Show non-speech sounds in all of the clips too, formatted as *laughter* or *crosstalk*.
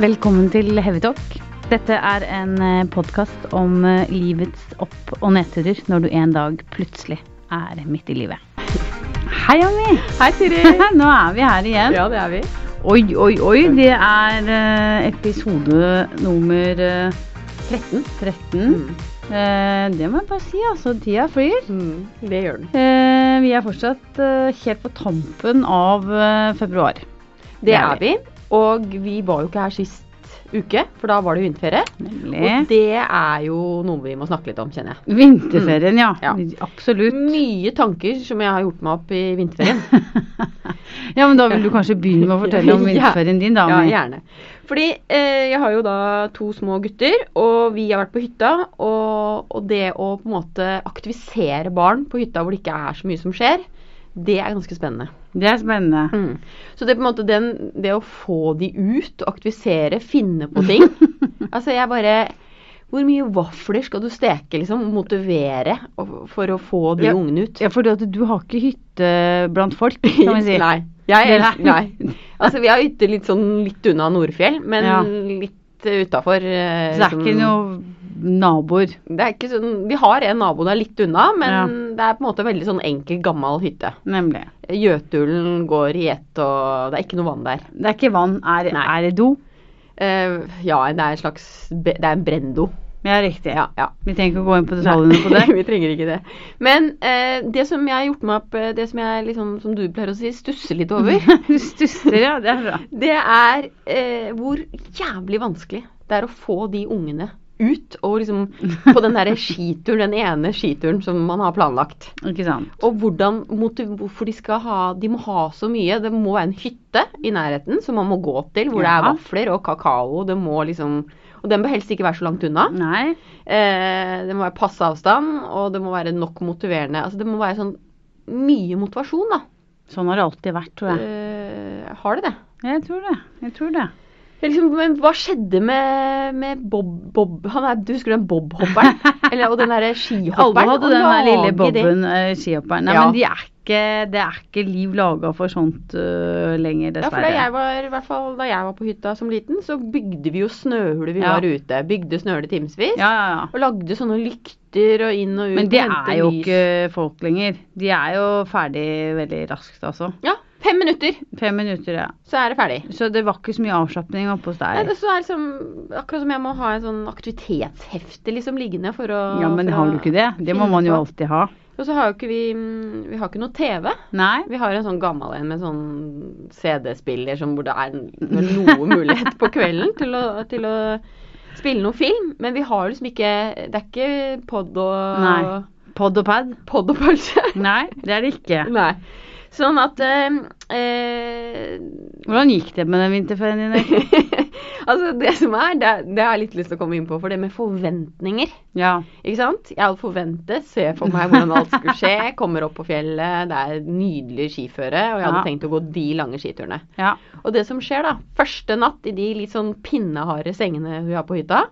Velkommen til Heavytalk. Dette er en podkast om eh, livets opp- og nedturer når du en dag plutselig er midt i livet. Hei, Ami! Hei, Siri. *laughs* Nå er vi her igjen. Ja, det er vi. Oi, oi, oi. Det er eh, episode nummer eh, 13. Eh, det må jeg bare si, altså. Tida flyr. Mm, det gjør den. Eh, vi er fortsatt eh, helt på tampen av eh, februar. Det er vi. Og vi var jo ikke her sist uke, for da var det vinterferie. Og Nemlig. det er jo noe vi må snakke litt om, kjenner jeg. Vinterferien, ja. Ja. Absolutt. Mye tanker som jeg har gjort meg opp i vinterferien. ja, men da vil du kanskje begynne med å fortelle *laughs* om Ja. vinterferien din, da. Ja, Ami. gjerne. Fordi eh, jeg har jo da to små gutter, og vi har vært på hytta. Og, og det å på en måte aktivisere barn på hytta hvor det ikke er så mye som skjer, det er ganske spennende. Det er spennende. Mm. Så det er på en måte den, det å få de ut, aktivisere, finne på *laughs* ting Altså jeg bare Hvor mye vafler skal du steke, liksom? Motivere og- for å få de Ja. ungene ut? Ja, for du, du har ikke hytte blant folk, *laughs* kan vi si. Nei. Jeg, Nei. nei. Altså vi har hytte litt sånn litt unna Nordfjell, men Ja. litt utafor. eh, liksom- Så det er ikke noe naboer. det er ikke sånn, Vi har en nabo der litt unna, men Ja. det er på en måte veldig sånn enkel, gammel hytte. Nemlig. Gjøtulen går i ett, og det er ikke noe vann der. Det er ikke vann. Er, Nei. er det do? Eh, ja, det er en slags be- Det er en brendo. Ja, riktig. Ja, ja. Vi trenger ikke å gå inn på detaljene *laughs* på *laughs* det. Vi trenger ikke det. Men eh, det som jeg har gjort meg opp eh, Det som jeg liksom, som du pleier å si, stusser litt over, *laughs* Du stusser, ja. Det er bra. det er eh, hvor jævlig vanskelig det er å få de ungene ut og liksom *laughs* på den derre skituren, den ene skituren som man har planlagt. Ikke sant. Og hvordan motiv, hvorfor de skal ha De må ha så mye. Det må være en hytte i nærheten som man må gå til, hvor det er Ja. vafler og kakao. Det må liksom Og den bør helst ikke være så langt unna. Nei. Eh, det må være passe avstand, og det må være nok motiverende. Altså, det må være sånn mye motivasjon, da. Sånn har det alltid vært, tror jeg. Eh, har det det? Jeg tror det. Jeg tror det. Jeg Liksom, men hva skjedde med, med Bob, Bob han er, Du husker den *laughs* Bob-hopperen? Eller, og den derre skihopperen? Alle hadde Å den der lille lage det. boben, eh, skihopperen. Nei, Ja. men de er ikke, det er ikke liv laga for sånt eh, lenger, Ja, for da dessverre. jeg, var, i hvert fall, da jeg var på hytta som liten, så bygde vi jo snøhuler vi Ja. var ute. Bygde snøhuler timevis. ja, ja, ja. Og lagde sånne lykter og inn og ut. Men det og hente er jo lys. ikke folk lenger. De er jo ferdig veldig raskt, altså. Ja, fem minutter, Fem minutter, ja. så er det ferdig. Så det var ikke så mye avslapning oppe hos Nei, deg. det så er liksom, akkurat som jeg må ha en sånn aktivitetshefte liksom liggende for å Ja, men for å har du ikke det? Det må finne man jo på. alltid ha. Og så har jo ikke vi mm, Vi har ikke noe TV. Nei? Vi har en sånn gammel en med sånn CD-spiller som hvor det er noe mulighet på kvelden til å, til å spille noe film. Men vi har liksom ikke Det er ikke pod og Nei. Pod og pad? Pod og *laughs* pølse. Nei, det er det ikke. Nei. Sånn at eh, eh, *laughs* Hvordan gikk det med den vinterferien din? egentlig? Altså, det som er, det, er- det har jeg litt lyst til å komme inn på, for det med forventninger. Ja. Ikke sant? Jeg hadde forventet, se for meg hvordan alt skulle skje. Kommer opp på fjellet, det er nydelig skiføre, og jeg hadde Ja. tenkt å gå de lange skiturene. ja. Og det som skjer da, første natt i de litt sånn pinneharde sengene vi har på hytta,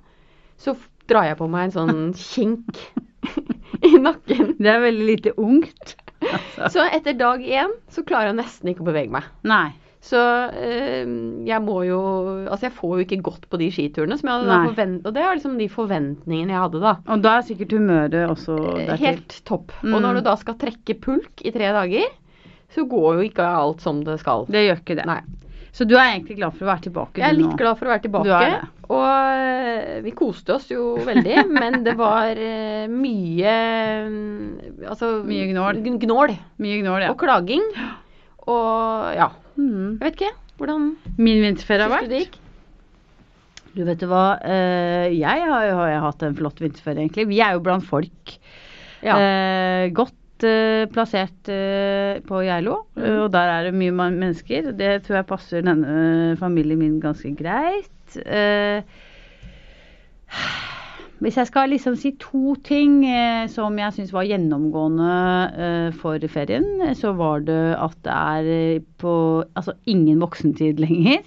så f- drar jeg på meg en sånn *laughs* kink i nakken. Det er veldig lite *laughs* ungt. Altså. Så etter dag én så klarer jeg nesten ikke å bevege meg. Nei. Så eh, jeg må jo Altså, jeg får jo ikke gått på de skiturene som jeg hadde Nei. forventet. Og det er liksom de forventningene jeg hadde, da. Og da er sikkert humøret også dertil. Eh, Helt topp. Mm. Og når du da skal trekke pulk i tre dager, så går jo ikke alt som det skal. Det gjør ikke det. Nei. Så du er egentlig glad for å være tilbake Jeg er du, litt nå? glad for å være Du tilbake. er det. Og eh, vi koste oss jo veldig, *laughs* men det var eh, mye eh, Altså Mye gnål. gn- gnål Mye gnål, ja. og klaging. Og ja. Mm. Jeg vet ikke. Hvordan Min vinterferie har syns vært? du det gikk? Du vet du hva, eh, jeg har jo har jeg hatt en flott vinterferie, egentlig. Vi er jo blant folk. Ja. Eh, godt eh, plassert eh, på Geilo, Mhm. eh, og der er det mye man- mennesker. Det tror jeg passer denne eh, familien min ganske greit. Eh, hvis jeg skal liksom si to ting eh, som jeg syns var gjennomgående eh, for ferien, så var det at det er eh, på altså ingen voksentid lenger.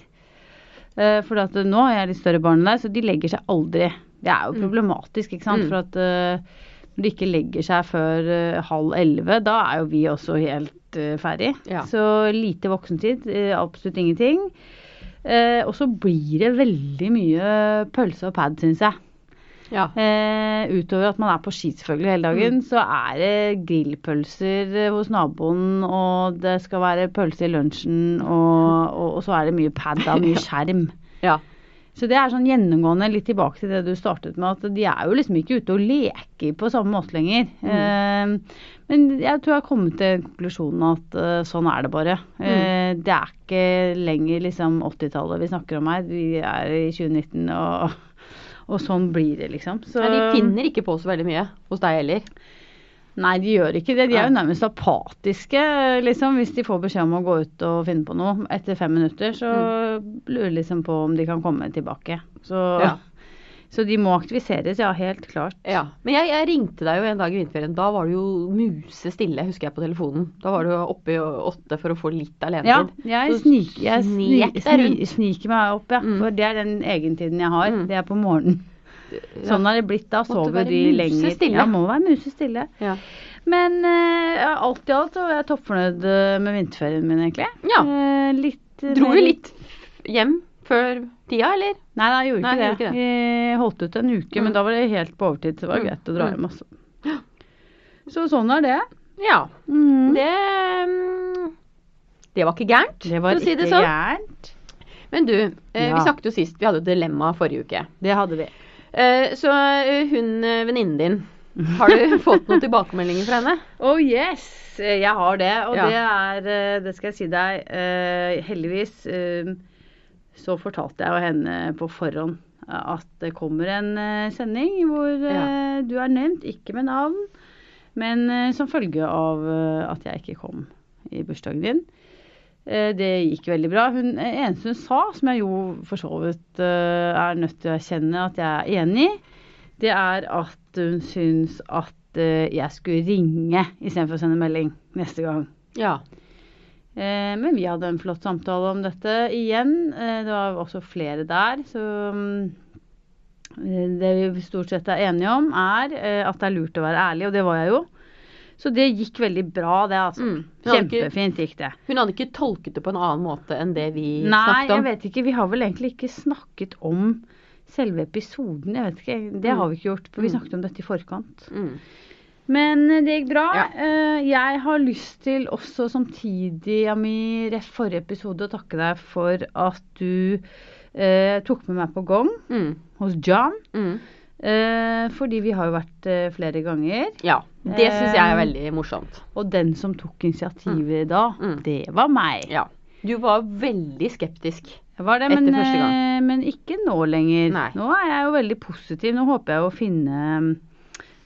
Eh, for at eh, nå har jeg litt større barn enn deg, så de legger seg aldri. Det er jo Mm. problematisk, ikke sant. Mm. For at eh, når de ikke legger seg før eh, halv elleve, da er jo vi også helt eh, ferdig. Ja. Så lite voksentid, eh, absolutt ingenting. Eh, og så blir det veldig mye pølse og pad, syns jeg. Ja. Eh, utover at man er på ski selvfølgelig hele dagen, så er det grillpølser eh, hos naboen, og det skal være pølse i lunsjen, og, og, og så er det mye pad og mye skjerm. ja. Så det er sånn gjennomgående litt tilbake til det du startet med, at de er jo liksom ikke ute og leker på samme måte lenger. Mm. Eh, men jeg tror jeg har kommet til konklusjonen at eh, sånn er det bare. Mm. Eh, det er ikke lenger liksom 80-tallet vi snakker om her, vi er i 2019 og, og sånn blir det liksom. Så, Nei, de finner ikke på så veldig mye hos deg heller. Nei, de gjør ikke det. De er jo nærmest apatiske, liksom. Hvis de får beskjed om å gå ut og finne på noe etter fem minutter, så lurer de liksom på om de kan komme tilbake. Så, Mm. Ja. så de må aktiviseres, ja. Helt klart. Ja. Men jeg, jeg ringte deg jo en dag i vinterferien. Da var det jo musestille, husker jeg, på telefonen. Da var du oppe i åtte for å få litt Ja, alenetid. jeg, Så snik, jeg snek sni- deg rundt. sni, sniker meg opp, ja. Mm. For det er den egentiden jeg har. Mm. Det er på morgenen. Ja. Sånn har det blitt. Da sover være de lenger. musestille. Ja, må være musestille. Ja. Men eh, alt i alt så er jeg toppfornøyd eh, med vinterferien min, egentlig. Ja. Eh, litt eh, Dro mer- vi litt hjem før tida, eller? Nei, nei, jeg gjorde Nei, ikke, jeg gjorde det. Vi holdt ut en uke, Mm. men da var det helt på overtid. Så det var Mm. greit å dra Mm. hjem, altså. Så sånn er det. Ja. Mm. Det mm, Det var ikke gærent, Det var for å si ikke det sånn. gærent. Men du, eh, vi Ja. snakket jo sist, vi hadde et dilemma forrige uke. Det hadde vi. Eh, så eh, hun eh, venninnen din, *laughs* *laughs* har du fått noen tilbakemeldinger fra henne? Oh yes, eh, jeg har det. Og Ja. det er, eh, det skal jeg si deg, eh, heldigvis eh, så fortalte jeg jo henne på forhånd eh, at det kommer en eh, sending hvor eh, du er nevnt, ikke med navn, men eh, som følge av eh, at jeg ikke kom i bursdagen din. Eh, Det gikk veldig bra. Hun, eh, eneste hun sa, som jeg jo for så vidt eh, er nødt til å erkjenne at jeg er enig i, det er at hun syns at eh, jeg skulle ringe istedenfor å sende melding neste gang. Ja. Eh, men vi hadde en flott samtale om dette igjen. Eh, det var også flere der, så mm, eh, Det vi stort sett er enige om, er eh, at det er lurt å være ærlig, og det var jeg jo. Så det gikk veldig bra, det, altså. Mm. Hun, hadde ikke, Kjempefint gikk det. hun hadde ikke tolket det på en annen måte enn det vi Nei, snakket jeg om. vet ikke. Vi har vel egentlig ikke snakket om selve episoden. Jeg vet ikke, Det har vi ikke gjort, for vi Mm. snakket om dette i forkant. Mm. Men eh, det gikk bra. Ja. Eh, Jeg har lyst til også samtidig, Ami, ref forrige episode, å takke deg for at du eh, tok med meg på gong Mm. hos John. Mm. Eh, fordi vi har jo vært eh, flere ganger. Ja. Det syns jeg er Eh, veldig morsomt. Og den som tok initiativet da, Mm. det var meg. Ja. Du var veldig skeptisk. Jeg var det, Etter men, første gang. eh, men ikke nå lenger. Nei. Nå er jeg jo veldig positiv. Nå håper jeg å finne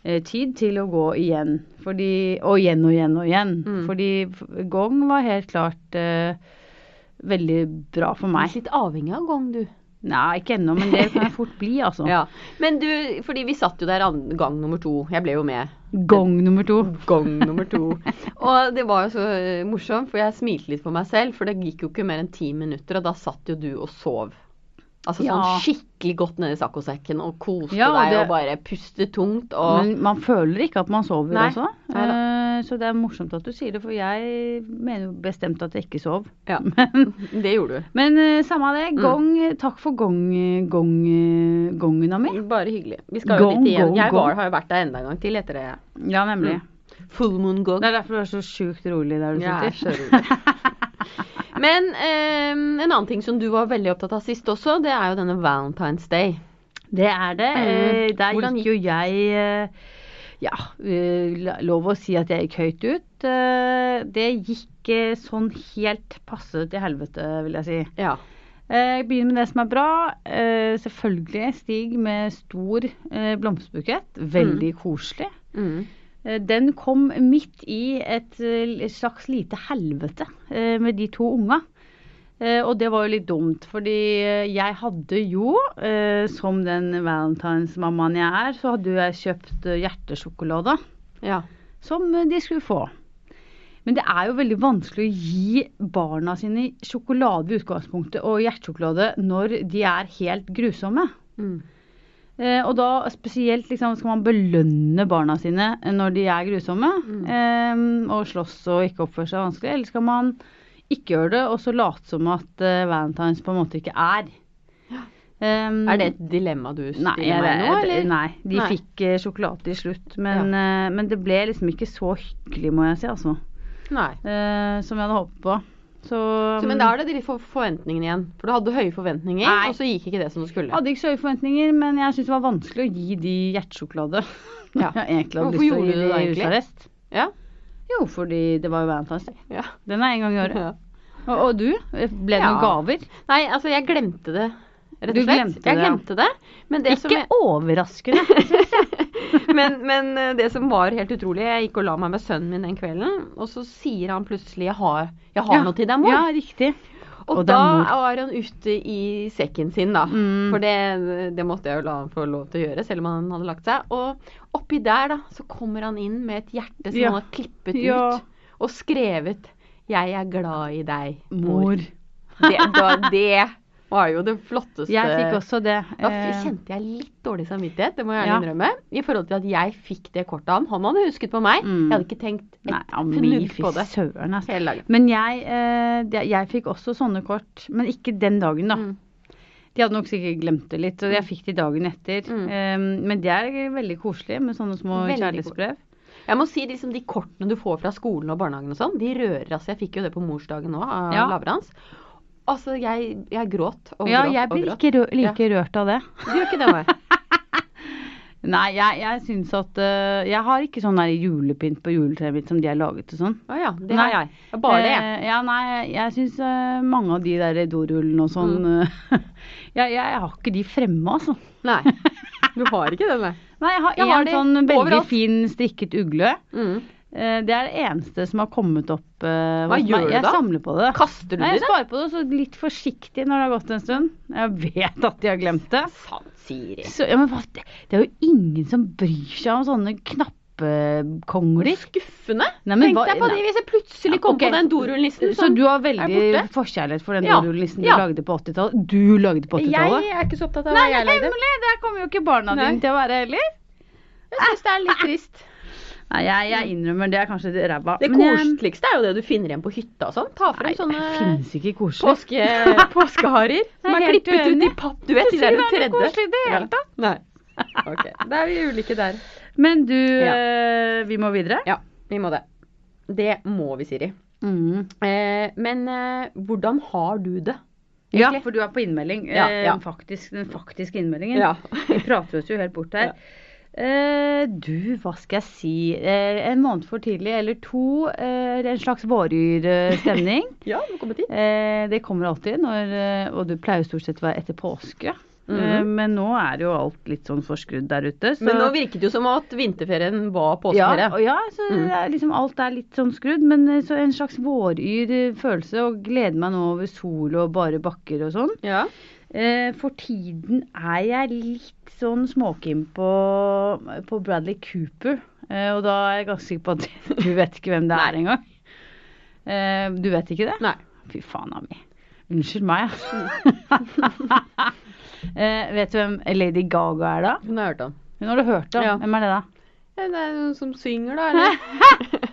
eh, tid til å gå igjen. Fordi, og igjen og igjen og igjen. Mm. Fordi f- gong var helt klart eh, veldig bra for meg. Litt avhengig av gang, du. Nei, ikke ennå, men det kan jeg fort bli, altså. *laughs* Ja. Men du, fordi vi satt jo der an- gang nummer to. Jeg ble jo med. Gong nummer to. Gang nummer to. *laughs* Og det var jo så eh, morsomt, for jeg smilte litt for meg selv. For det gikk jo ikke mer enn ti minutter, og da satt jo du og sov. Altså Ja. sånn skikkelig godt nedi saccosekken og koste Ja, og deg det- og bare puste tungt *laughs* og Men man føler ikke at man sover, Nei. altså. Nei Eh, så det er morsomt at du sier det, for jeg mener jo bestemt at jeg ikke sov. *laughs* *laughs* Ja, Men det gjorde du. Men eh, samme det. Gong, Takk for gong, gong, gongena mi. Bare hyggelig. Vi skal jo Gong, dit igjen. gong, Jeg gong. var, har jo vært der enda en gang til etter det. Ja, nemlig. Full moon gong. Det er derfor du er så sjukt rolig der du Ja, jeg sitter. er så rolig. *laughs* Men eh, en annen ting som du var veldig opptatt av sist også, det er jo denne Valentine's Day. *laughs* Det er det. Eh, Der Hvordan gikk jo jeg eh, Ja, eh, la- lov å si at jeg gikk høyt ut. Eh, Det gikk eh, sånn helt passe til helvete, vil jeg si. Ja. Eh, Jeg begynner med det som er bra. Eh, Selvfølgelig Stig med stor eh, blomsterbukett. Veldig koselig. Mm. Eh, Den kom midt i et eh, slags lite helvete eh, med de to unga. Eh, Og det var jo litt dumt, fordi eh, jeg hadde jo, eh, som den valentinsmammaen jeg er, så hadde jo jeg kjøpt eh, hjertesjokolade ja. som eh, de skulle få. Men det er jo veldig vanskelig å gi barna sine sjokolade i utgangspunktet og hjertesjokolade når de er helt grusomme. Mm. Eh, og da spesielt liksom, skal man belønne barna sine eh, når de er grusomme Mm. eh, og slåss og ikke oppføre seg vanskelig, eller skal man ikke gjør det, og så late som at eh, Valentine's på en måte ikke er. Um, Er det et dilemma du stiller Nei, jeg, meg nå, det- eller? nei, de Nei. fikk eh, sjokolade til slutt. Men, eh, men det ble liksom ikke så hyggelig, må jeg si, altså. Nei. Eh, som jeg hadde håpet på. Så, Så, men da er det de for forventningene igjen. For du hadde høye forventninger, Nei. og så gikk ikke det som du skulle. Jeg hadde ikke så høye forventninger, men jeg syntes det var vanskelig å gi de hjertesjokolade. Når Ja. *laughs* jeg egentlig hadde Hvorfor lyst til å gjorde gi du de det egentlig? husarrest. Ja. Jo, fordi det var jo Valentine's Day. ja. Den er en gang i *laughs* året. ja. Og, og du? Ble det Ja. noen gaver? Nei, altså, jeg glemte det. Rett og Du slett. glemte jeg det, ja. glemte det. Men det, som Ikke overraskende. jeg, men, men eh, det som var helt utrolig Jeg gikk og la meg med sønnen min den kvelden, og så sier han plutselig 'Jeg har, jeg har Ja. noe til deg, *laughs* mor'. Ja, riktig. Og, Og det da er var han ute i sekken sin, da. Mm. For det, det måtte jeg jo la han få lov til å gjøre, selv om han hadde lagt seg. Og oppi der, da, så kommer han inn med et hjerte som Ja. han har klippet Ja. ut og skrevet 'Jeg er glad i deg, mor'. Mor. Det, da, det var jo det flotteste Jeg fikk også det. Da eh, f- kjente jeg litt dårlig samvittighet, det må jeg Ja. gjerne innrømme. I forhold til at jeg fikk det kortet av ham. Han hadde husket på meg. Mm. Jeg hadde ikke tenkt et Nei, ja, men fnugg fy på det søren, altså. hele dagen. Men jeg, eh, det- jeg fikk også sånne kort, men ikke den dagen, da. Mm. De hadde nok sikkert glemt det litt, og jeg fikk de dagen etter. Mm. Eh, men det er veldig koselig med sånne små Veldig kjærlighetsbrev. Jeg må si liksom, De kortene du får fra skolen og barnehagen og sånn, de rører altså. Jeg fikk jo det på morsdagen nå av Ja. Lavrans. Altså, jeg, jeg gråt og Ja, gråt jeg og blir gråt. ikke rø like rørt av det. Du gjør ikke det, Mai? *laughs* Nei, jeg, jeg syns at eh, Jeg har ikke sånn der julepynt på juletreet mitt som de er laget og sånn. Å ja. Det Nei. har jeg. Det er Bare det. Eh, ja, nei, jeg syns eh, mange av de der dorullene og sånn eh, *laughs* jeg, jeg har ikke de fremme, altså. Nei. Du har ikke det, nei. Nei, jeg har, Jeg har en de sånn veldig overalt. fin strikket ugle. Mm. Eh, Det er det eneste som har kommet opp. eh, Hva hos gjør meg. du jeg da? samler på det. Kaster du Nei, det? jeg sparer på det, så litt forsiktig når det har gått en stund. Jeg vet at de har glemt det. Sant, Siri. Så, ja, men hva, det det er jo ingen som bryr seg om sånne knappekongler. Skuffende. Nei, men Tenk hva- deg på det nei. hvis jeg plutselig Ja, kom ok. på den sånn. dorullnissen. Så du sånn har Er veldig borte. forkjærlighet for den Ja, dorullnissen du ja. lagde på 80-tallet. Du lagde på Jeg 80-tallet. er ikke så opptatt av Nei, hva jeg lagde. hemmelig! Det kommer jo ikke barna Nei. dine til å være heller. Jeg syns det er litt trist. Nei, jeg, jeg innrømmer det er kanskje det ræva. Det men jeg- koseligste er jo det du finner igjen på hytta og sånn. Ta frem Nei, sånne det finnes ikke koselig. Påske, *laughs* påskeharer Nei, som er helt klippet ut i uenig. papp. Du vet, de der Det er tredje. ikke koselig i det hele tatt. Nei. Ok, Da er vi ulike der. Men du, Ja. eh, vi må videre. Ja, vi må det. Det må vi, Siri. Mm. Eh, men eh, hvordan har du det? Ja, Egentlig. for du er på innmelding. Ja, Eh, ja. Faktisk, den faktiske innmeldingen. Vi Ja. *laughs* prater oss jo helt bort her. Eh, du, hva skal jeg si. Eh, en måned for tidlig eller to. Eh, en slags våryr-stemning. *laughs* ja, nå kommer tid. eh, det kommer alltid, når, eh, og det pleier jo stort sett å være etter påske. Mhm. eh, men nå er jo alt litt sånn forskrudd der ute. Så Men nå virket det jo som at vinterferien var Ja, påskeferie. og ja, så Mm. det er liksom alt er litt sånn skrudd, men eh, så en slags våryr eh, følelse. Og gleder meg nå over sol og bare bakker og sånn. Ja. Eh, for tiden er jeg litt sånn småkim på, på Bradley Cooper. Eh, og da er jeg ganske sikker på at *laughs* du vet ikke hvem det er engang. Eh, du vet ikke det? Nei. Fy faen av meg. Unnskyld meg, *laughs* altså. eh, vet du hvem Lady Gaga er, da? Hun har hørt om. Hun har du hørt om. Ja. Hvem er det, da? Ja, Det er noen som synger, da. Eller?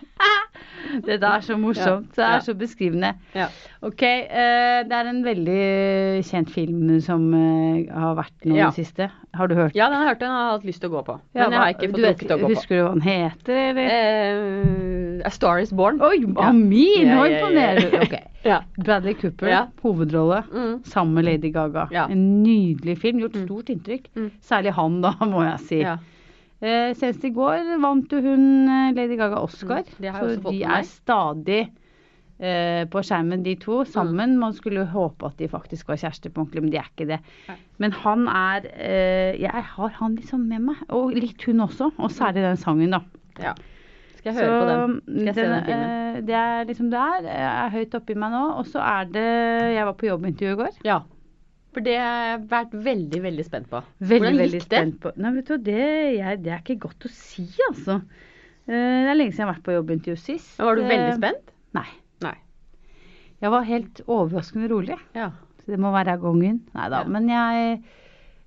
Det der er så morsomt. Det Ja. er så beskrivende. Ja. Ok, eh, det er en veldig kjent film som eh, har vært nå i Ja. det siste. Har du hørt? *laughs* ja, den har jeg hørt den har jeg hatt lyst til å gå på. Men Ja, jeg hva- har ikke du fått vet- rukket å gå på. Husker du hva den heter, eller? Eh, A Star Is Born. Oi, ja. Amin! Ja, Nå ja, ja. imponerer *laughs* du. Ok. Ja. Bradley Cooper, Ja. hovedrolle. Mm. Sammen med Lady Gaga. Ja. En nydelig film. Gjort Mm. stort inntrykk. Mm. Særlig han, da, *laughs* må jeg si. Ja. Eh, senest i går vant jo hun eh, Lady Gaga Oscar. Mm, det har jeg så også fått de med er meg. stadig eh, på skjermen, de to Mm. sammen. Man skulle jo håpe at de faktisk var kjærester på ordentlig, men de er ikke det. Nei. Men han er eh, Jeg har han liksom med meg. Og litt hun også. Og særlig den sangen, da. ja. Skal jeg høre på den? Skal jeg se den filmen? eh, det er liksom det er. Jeg er høyt oppi meg nå. Og så er det Jeg var på jobbintervju i går. Ja. For det har jeg vært veldig, veldig spent på. Veldig, Hvordan veldig gikk det? spent på Nei, vet du, hva, det, jeg, det er ikke godt å si, altså. Eh, Det er lenge siden jeg har vært på jobbintervju sist. Men Var du veldig Eh, spent? Nei. Nei. Jeg var helt overraskende rolig. Ja. Så det må være gongen. Nei da. Ja. Men jeg,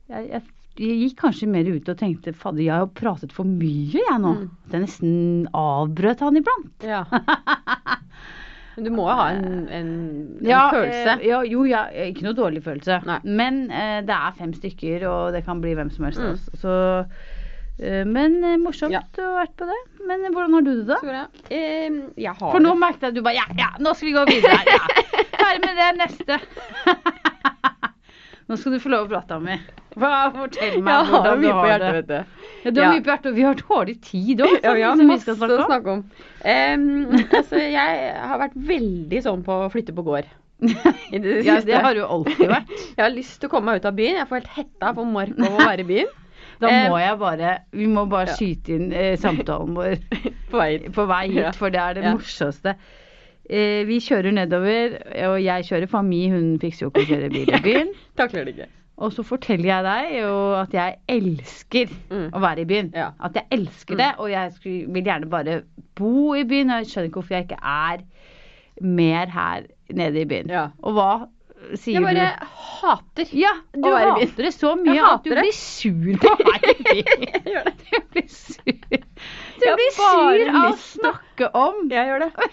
jeg, jeg, jeg gikk kanskje mer ut og tenkte Fadder, jeg har jo pratet for mye, jeg nå. Mm. *laughs* At jeg nesten avbrøt han iblant. ja. Du må jo ha en, en, en Ja, følelse. eh, ja, jo, ja, ikke noe dårlig følelse. Nei. Men eh, det er fem stykker, og det kan bli hvem som helst. Mm. altså. Så, eh, men eh, morsomt Ja. å ha vært på det. Men eh, hvordan har du det, da? Tore, eh, jeg har For nå merket jeg at du bare Ja, ja, nå skal vi gå videre. *laughs* Ja. Ferdig med det neste. *laughs* Nå skal du få lov å prate om det. Hva- Fortell meg jeg har hvordan du mye på har hjertet, det. *laughs* vet du. Ja, du har Ja. mye på hjertet, og vi har dårlig tid òg. *laughs* Ja, vi har som vi skal masse snakke å om. snakke om. Em, altså, jeg har vært veldig sånn på å flytte på gård. I det *laughs* Ja, siste. det har du alltid vært. Jeg har lyst til å komme meg ut av byen. Jeg får helt hetta på mark av å være i byen. Da *laughs* Eh, må jeg bare Vi må bare ja. skyte inn eh, samtalen vår På vei hit. *laughs* på vei Ja. hit, for det er det Ja. morsomste. Eh, vi kjører nedover, og jeg kjører Fami, hun fikser jo ikke å kjøre bil i *laughs* byen. Takler det ikke. Og så forteller jeg deg jo at jeg elsker Mm. å være i byen. Ja. Mm. At jeg elsker det, og jeg skulle, vil gjerne bare bo i byen. Og jeg skjønner ikke hvorfor jeg ikke er mer her nede i byen. Ja. Og hva sier Jeg bare du? hater Ja, du å være i byen. hater det så mye at hater du det. blir sur på meg i byen. *laughs* Jeg gjør det. Du blir sur. Du Jeg har blir bare sur av å lyst til- snakke om. Jeg gjør det.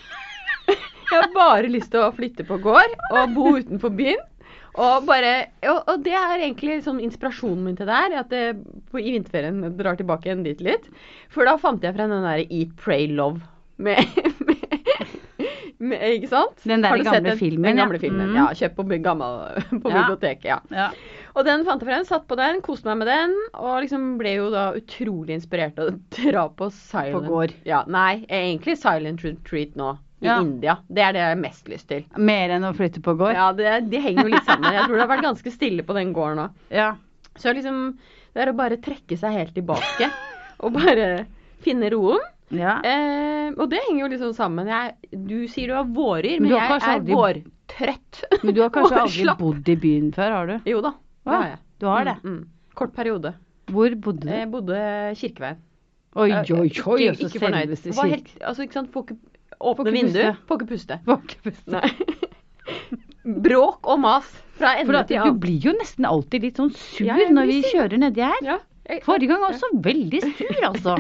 Jeg har bare lyst til å flytte på gård og bo utenfor byen. Og, bare, og, og det er egentlig sånn inspirasjonen min til det her. At det, på, I vinterferien drar tilbake igjen dit litt. For da fant jeg frem den der Eat, Pray, Love. Med, med, med, ikke sant? Den der Har du sett gamle den? filmen, Den ja. gamle filmen, Mm. ja. Kjøpt på, by- gammel, på Ja. biblioteket. ja. Ja. Og den fant jeg frem, satt på den, koste meg med den, og liksom ble jo da utrolig inspirert av å dra på silent På gård. Ja, nei, egentlig silent retreat nå. I Ja. India. Det er det jeg har mest lyst til. Mer enn å flytte på gård. Ja, det, De henger jo litt sammen. Jeg tror det har vært ganske stille på den gården nå. Ja. Så liksom Det er å bare trekke seg helt tilbake og bare finne roen. ja. Eh, og det henger jo liksom sammen. Jeg, du sier du har vårer, men Du har jeg kanskje er aldri- vårtrøtt. Men du har kanskje aldri *laughs* Vårslapp. bodd i byen før, har du? Jo da, det har jeg. Du har det. Mm, mm. Kort periode. Hvor bodde du? Jeg bodde Kirkeveien. Oi, Jeg- oi, oi, ikke- altså eh, ikke fornøyd. selveste Var kirke. helt, altså, ikke sant, får ikke Får åpne ikke vinduer, puste. får ikke puste. Var ikke best. Nei. *laughs* Bråk og mas fra For ende at til du annen. blir jo nesten alltid litt sånn sur Ja, jeg når vi blir sur. kjører nedi her. Ja, jeg- Forrige gang også veldig sur, altså.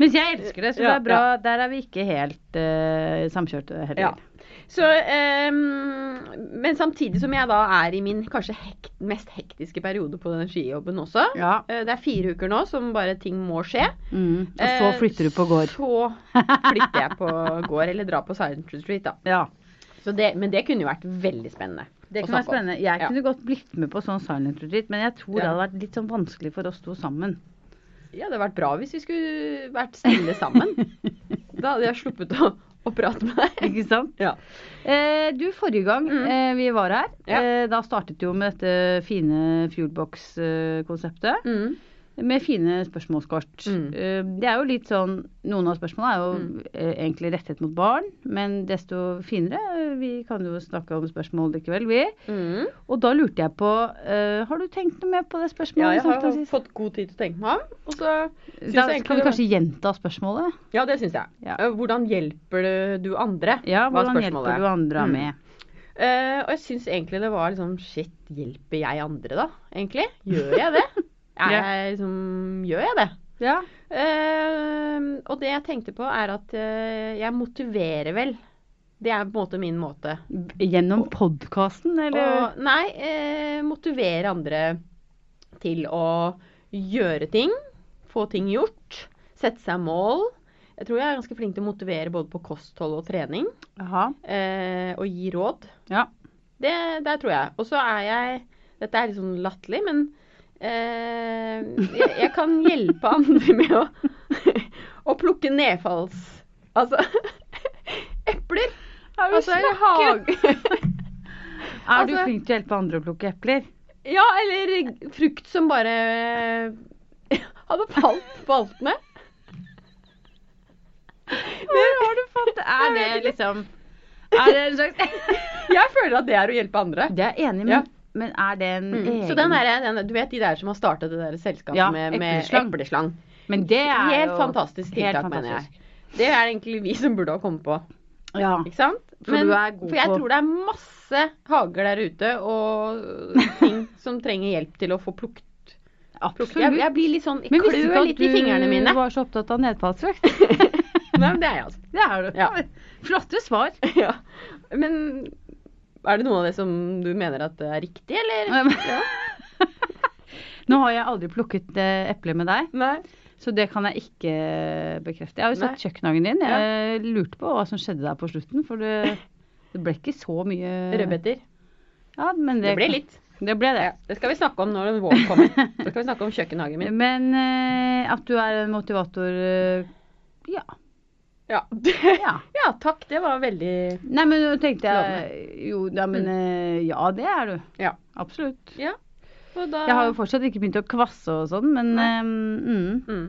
Mens jeg elsker det, så det Ja, er bra. Der er vi ikke helt eh, samkjørte heller. Ja. Så, ehm, men samtidig som jeg da er i min kanskje hekt, mest hektiske periode på den skijobben også. Ja. eh, Det er fire uker nå som bare ting må skje. Mm. Og så Eh, flytter du på gård. *laughs* Så flytter jeg på gård, eller drar på Silent Street, da. Ja. Så det, men det kunne jo vært veldig spennende. Det kunne være å snakke om. spennende. Jeg Ja. kunne godt blitt med på sånn silent retreat, men jeg tror det Ja. hadde vært litt sånn vanskelig for oss to sammen. Ja, det hadde vært bra hvis vi skulle vært stille *laughs* sammen. da hadde jeg sluppet å, å prate med deg. Ikke sant? Ja. Eh, du, forrige gang Mm. eh, vi var her, Ja. eh, da startet du jo med dette fine Fuelbox-konseptet. Mm. Med fine spørsmålskort. Mm. Eh, Det er jo litt sånn Noen av spørsmålene er jo Mm. eh, egentlig rettet mot barn, men desto finere. eh, Vi kan jo snakke om spørsmål likevel, vi. Mm. Og da lurte jeg på eh, Har du tenkt noe mer på det Ja, spørsmålet? jeg har vi snakket om sist? fått god tid til å tenke meg om. Og så synes da jeg kan egentlig vi kanskje gjenta spørsmålet? Ja, det syns jeg. Ja. Eh, Hvordan hjelper det du andre? Ja, var hvordan spørsmålet. hjelper du andre Mm. med? Eh, og jeg syns egentlig det var liksom Shit, hjelper jeg andre, da? Egentlig? Gjør jeg *laughs* det? *laughs* Er Ja. jeg liksom Gjør jeg det? Ja. Eh, og det jeg tenkte på, er at eh, jeg motiverer vel. Det er på en måte min måte. Gjennom podkasten, eller? Og, nei, eh, motivere andre til å gjøre ting. Få ting gjort. Sette seg mål. Jeg tror jeg er ganske flink til å motivere både på kosthold og trening. Aha. Eh, og gi råd. Ja. Det, der tror jeg. Og så er jeg Dette er litt sånn latterlig, men eh, jeg, jeg kan hjelpe andre med å, *laughs* å plukke nedfalls... Altså *laughs* epler. Altså, eller hage... *laughs* Er du Altså- flink til å hjelpe andre å plukke epler? Ja, eller frukt som bare eh, *laughs* hadde falt på altene. Hvor har du fått det? Er det Jeg vet ikke. liksom Er det en *laughs* slags Jeg føler at det er å hjelpe andre. Det er jeg enig, men, Ja. men er det en Mm. egen Så den der, den, Du vet de der som har startet det der selskapet Ja, med, med epleslang. epleslang. Men det er Helt jo fantastisk tiltak, helt mener fantastisk. jeg. Det er egentlig vi som burde ha kommet på. Ja. Ikke sant? For du er god for jeg på- tror det er masse hager der ute og ting som trenger hjelp til å få plukket. plukket. Absolutt. Jeg, jeg blir litt sånn Jeg men visste klør litt i ikke fingrene at du mine. var så opptatt av nedfallsvekt? *laughs* Nei, men det er jeg, altså. Det er du. Ja. *laughs* Flotte svar. *laughs* Ja. Men er det noe av det som du mener at er riktig, *laughs* eller? Ja. Ehm. *laughs* Nå har jeg aldri plukket eh, eple med deg, Nei. så det kan jeg ikke bekrefte. Jeg har jo Nei. sett kjøkkenhagen din. Jeg lurte på hva som skjedde der på slutten, for *laughs* det, det ble ikke så mye Rødbeter. Ja, men det, Eh, Det ble litt. Det ble det. Ja, det skal vi snakke om når våren kommer. Da skal vi snakke om kjøkkenhagen min. *laughs* Men eh, at du er en motivator eh, Ja. Ja. Ja. *laughs* ja, takk. Det var veldig Nei, men nå tenkte jeg Jo, ja, men eh, Ja, det er du. Mm. Ja. Absolutt. ja. Og da Jeg har jo fortsatt ikke begynt å kvasse og sånn, men Nei. eh, mm, mm.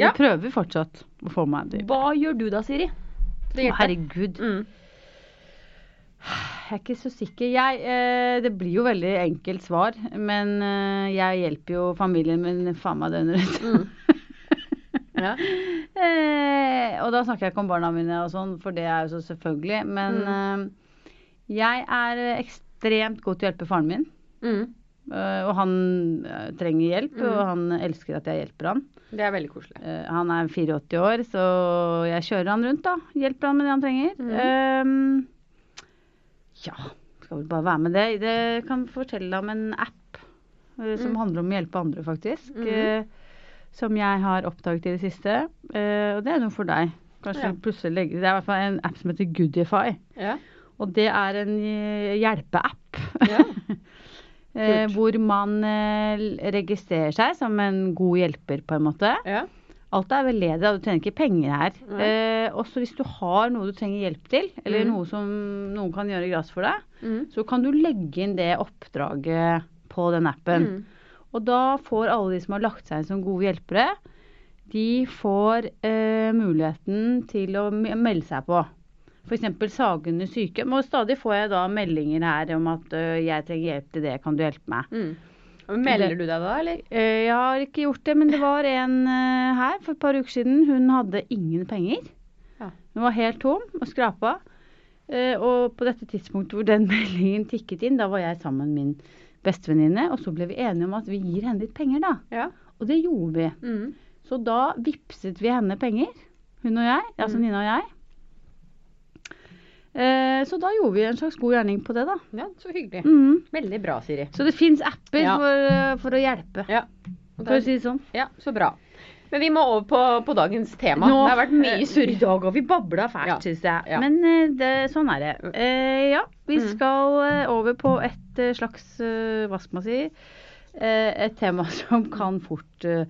jeg Ja. prøver fortsatt å få meg til. Hva gjør du da, Siri? Å, Det hjelper. herregud. Mm. Jeg er ikke så sikker. Jeg, eh, det blir jo veldig enkelt svar, men eh, jeg hjelper jo familien min faen meg døgnet rundt. *laughs* Mm. Ja. Eh, og da snakker jeg ikke om barna mine og sånn, for det er jo så selvfølgelig. Men Mm. eh, jeg er ekstremt god til å hjelpe faren min. Mm. eh, og han eh, trenger hjelp, Mm. og han elsker at jeg hjelper han. Det er veldig koselig. Eh, han er 84 år, så jeg kjører han rundt, da. Hjelper han med det han trenger. Mm. Eh, ja, skal vel bare være med det. Det kan fortelle om en app eh, som Mm. handler om å hjelpe andre, faktisk. Mhm. eh, som jeg har oppdaget i det siste. Eh, og det er noe for deg. Kanskje Ja. du plutselig legger Det er i hvert fall en app som heter Goodify. Ja. Og det er en eh, hjelpeapp. Ja. *laughs* Eh, Kult. hvor man eh, l- registrerer seg som en god hjelper, på en måte. Ja. Alt er veldedig, og du tjener ikke penger her. Nei. Eh, også hvis du har noe du trenger hjelp til, eller Mhm. noe som noen kan gjøre gratis for deg, Mm. så kan du legge inn det oppdraget på den appen. Mm. Og da får alle de som har lagt seg inn som gode hjelpere, de får eh, muligheten til å me- melde seg på. F.eks. Sagene sykehjem. Og stadig får jeg da meldinger her om at eh, jeg trenger hjelp til det, kan du hjelpe meg? Mm. Melder du deg da, eller? Eh, Jeg har ikke gjort det, men det var en eh, her for et par uker siden. Hun hadde ingen penger. Ja. Hun var helt tom og skrapa. Eh, Og på dette tidspunktet hvor den *laughs* meldingen tikket inn, da var jeg sammen med min bestevenninne, og så ble vi enige om at vi gir henne litt penger, da. Ja. Og det gjorde vi. Mm. Så da vipset vi henne penger, hun og jeg, altså Mm. Nina og jeg. Eh, Så da gjorde vi en slags god gjerning på det, da. ja, så hyggelig. Mhm. Veldig bra, Siri. Så det fins apper Ja. for, eh, for å hjelpe, Ja. Og for å der- si det sånn. ja, så bra. Men vi må over på, på dagens tema. Nå- eh, det har vært mye surr i dag. og vi babla fælt, Ja, syns jeg. ja. Men eh, det, sånn er det. Eh, ja, vi Mm. skal eh, over på et eh, slags, eh, hva skal man si, eh, et tema *laughs* som kan fort eh,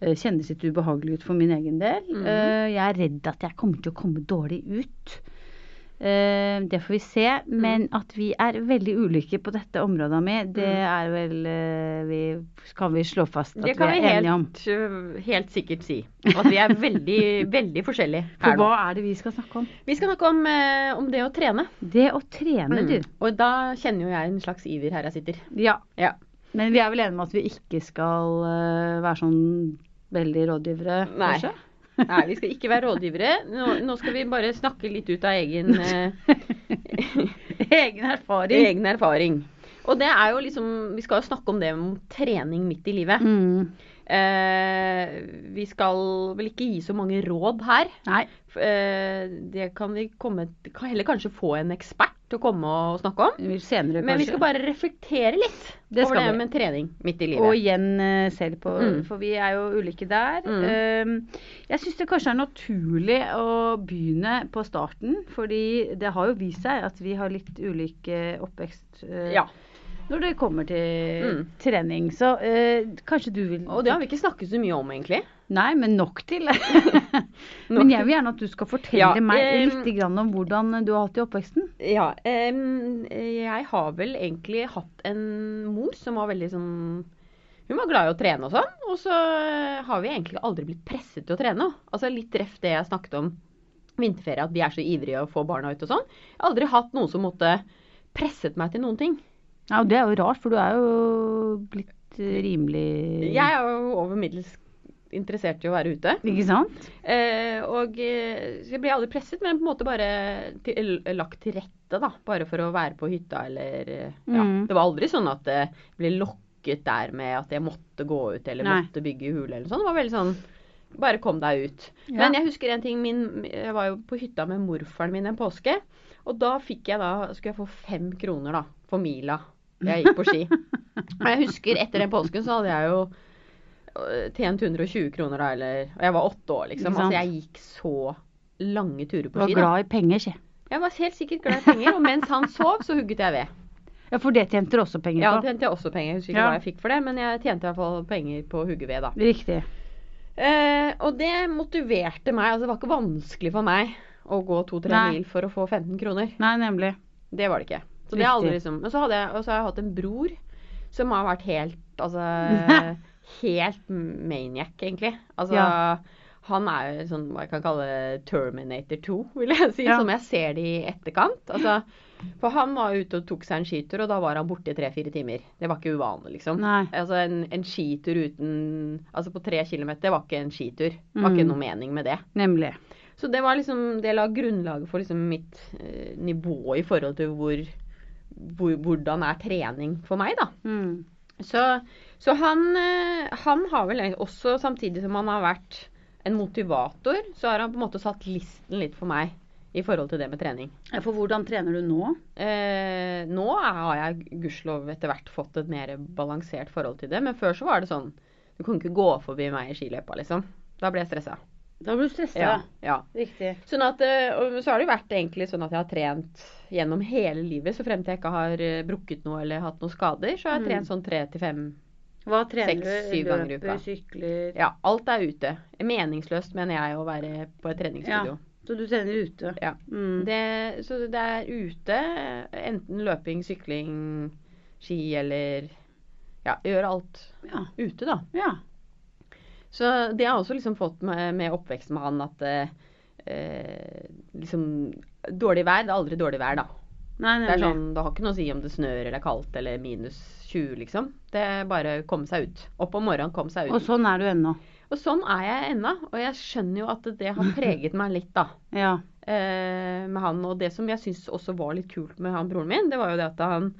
eh, kjennes litt ubehagelig ut for min egen del. Mhm. Eh, jeg er redd at jeg kommer til å komme dårlig ut. Eh, det får vi se. Mm. Men at vi er veldig ulike på dette området, Ami, det er vel eh, vi, Kan vi slå fast at Mm. Det kan vi vi er enige om. helt, øh, helt sikkert si. At vi er *laughs* veldig, veldig forskjellige For her nå. hva er det vi skal snakke om? Vi skal snakke om, eh, om det å trene. Mm. Det å trene, du. Og da kjenner jo jeg en slags iver her jeg sitter. Mm. Ja. Ja. Men vi er vel enige om at vi ikke skal eh, være sånn veldig rådgivere, Nei. kanskje? *laughs* Nei, *laughs* vi skal ikke være rådgivere. Nå, nå skal vi bare snakke litt ut av *laughs* egen, eh, Egen erfaring. egen erfaring. Og det er jo liksom Vi skal jo snakke om det med trening midt i livet. Mm. Eh, vi skal vel ikke gi så mange råd her. Nei. F- Eh, det kan vi komme kan Heller kanskje få en ekspert til å komme og snakke om. vi- Senere, kanskje. Men vi skal bare reflektere litt Det over skal det vi. med trening midt i Og livet. igjen eh, selv på Mm. For vi er jo ulike der. Mm. Eh, jeg syns det kanskje er naturlig å begynne på starten. Fordi det har jo vist seg at vi har litt ulik eh, oppvekst eh, ja. når det kommer til Mm. trening. Så eh, kanskje du vil Og det har vi ikke snakket så mye om, egentlig. Nei, men nok til. *laughs* men jeg vil gjerne at du skal fortelle Ja, meg eh, litt grann om hvordan du har hatt det i oppveksten. Ja, em, jeg har vel egentlig hatt en mor som var veldig sånn Hun var glad i å trene og sånn, og så har vi egentlig aldri blitt presset til å trene. Altså litt ref det jeg snakket om vinterferie, at vi er så ivrige å få barna ut og sånn. Jeg har aldri hatt noen som måtte presset meg til noen ting. Ja, og Det er jo rart, for du er jo blitt eh, rimelig Jeg er jo over middels interessert i å være ute. Ikke sant? Eh, og eh, så jeg ble aldri presset, men på en måte bare til, lagt til rette, da. Bare for å være på hytta eller eh, Ja. Mm. Det var aldri sånn at det ble lokket der med at jeg måtte gå ut eller Nei. måtte bygge hule eller sånn. Det var veldig sånn Bare kom deg ut. Ja. Men jeg husker en ting. Min, jeg var jo på hytta med morfaren min en påske. Og da fikk jeg da, skulle jeg få fem kroner da, for mila. Jeg gikk på *laughs* ski. Og jeg husker etter den påsken så hadde jeg jo øh, tjent 120 kroner da, eller Og jeg var åtte år, Ikke liksom. sant? Altså jeg gikk så lange turer på Var ski. da. glad i penger, si. Jeg var helt sikkert glad i penger, og mens han sov, så hugget jeg ved. Ja, for det tjente du også penger Ja, på. tjente jeg også penger. Jeg husker ikke Ja. hva jeg fikk for det, men jeg tjente i hvert fall penger på å hugge ved, da. Riktig. Eh, og det motiverte meg. Altså, det var ikke vanskelig for meg å gå to-tre Nei. mil for å få 15 kroner. Nei, nemlig. Det var det ikke. Så det har aldri Riktig. liksom Og så hadde jeg, og så har jeg hatt en bror som har vært *laughs* helt Altså helt maniac, egentlig. Altså Ja. Han er jo sånn hva jeg kan kalle Terminator 2, vil jeg si, Ja. som jeg ser det i etterkant. Altså, for han var ute og tok seg en skitur, og da var han borte i tre-fire timer. Det var ikke uvanlig, liksom. Nei. Altså en, en skitur uten Altså på tre kilometer det var ikke en skitur. Det var Mm. ikke noe mening med det. Nemlig. Så det var liksom Det la grunnlaget for liksom mitt eh, nivå i forhold til hvor, hvor hvordan er trening for meg, da. Mm. Så, så han, eh, han har vel egentlig også, samtidig som han har vært en motivator, så har han på en måte satt listen litt for meg i forhold til det med trening. Ja, For hvordan trener du nå? Eh, nå er- har jeg gudskjelov etter hvert fått et mer balansert forhold til det, men før så var det sånn Du kunne ikke gå forbi meg i skiløypa, liksom. Da ble jeg stressa. Da blir du stressa. ja. Riktig. Sånn at, eh, og så har det jo vært egentlig sånn at jeg har trent gjennom hele livet, så frem til jeg ikke har eh, brukket noe eller hatt noen skader, så har jeg Mm. trent sånn tre til fem. Hva trener Seks, du? syv ganger i Løper, uka. sykler Ja, alt er ute. Meningsløst, mener jeg, å være på et treningsstudio. Så du trener ute? Mm. Ja. Det, så det er ute, eh, enten løping, sykling, ski eller Ja, gjøre alt Ja. ute, da. Så det har også liksom fått med, med oppveksten med han at eh, eh, liksom Dårlig vær, det er aldri dårlig vær, da. Nei, Det er sånn, det har ikke noe å si om det snør eller er kaldt eller minus 20, liksom. Det er bare å komme seg ut. Opp om morgenen, komme seg ut. Og sånn er du ennå. Og sånn er jeg ennå. Og jeg skjønner jo at det har preget meg litt, da. Ja. Eh, med han. Og det som jeg syns også var litt kult med han broren min, det var jo det at han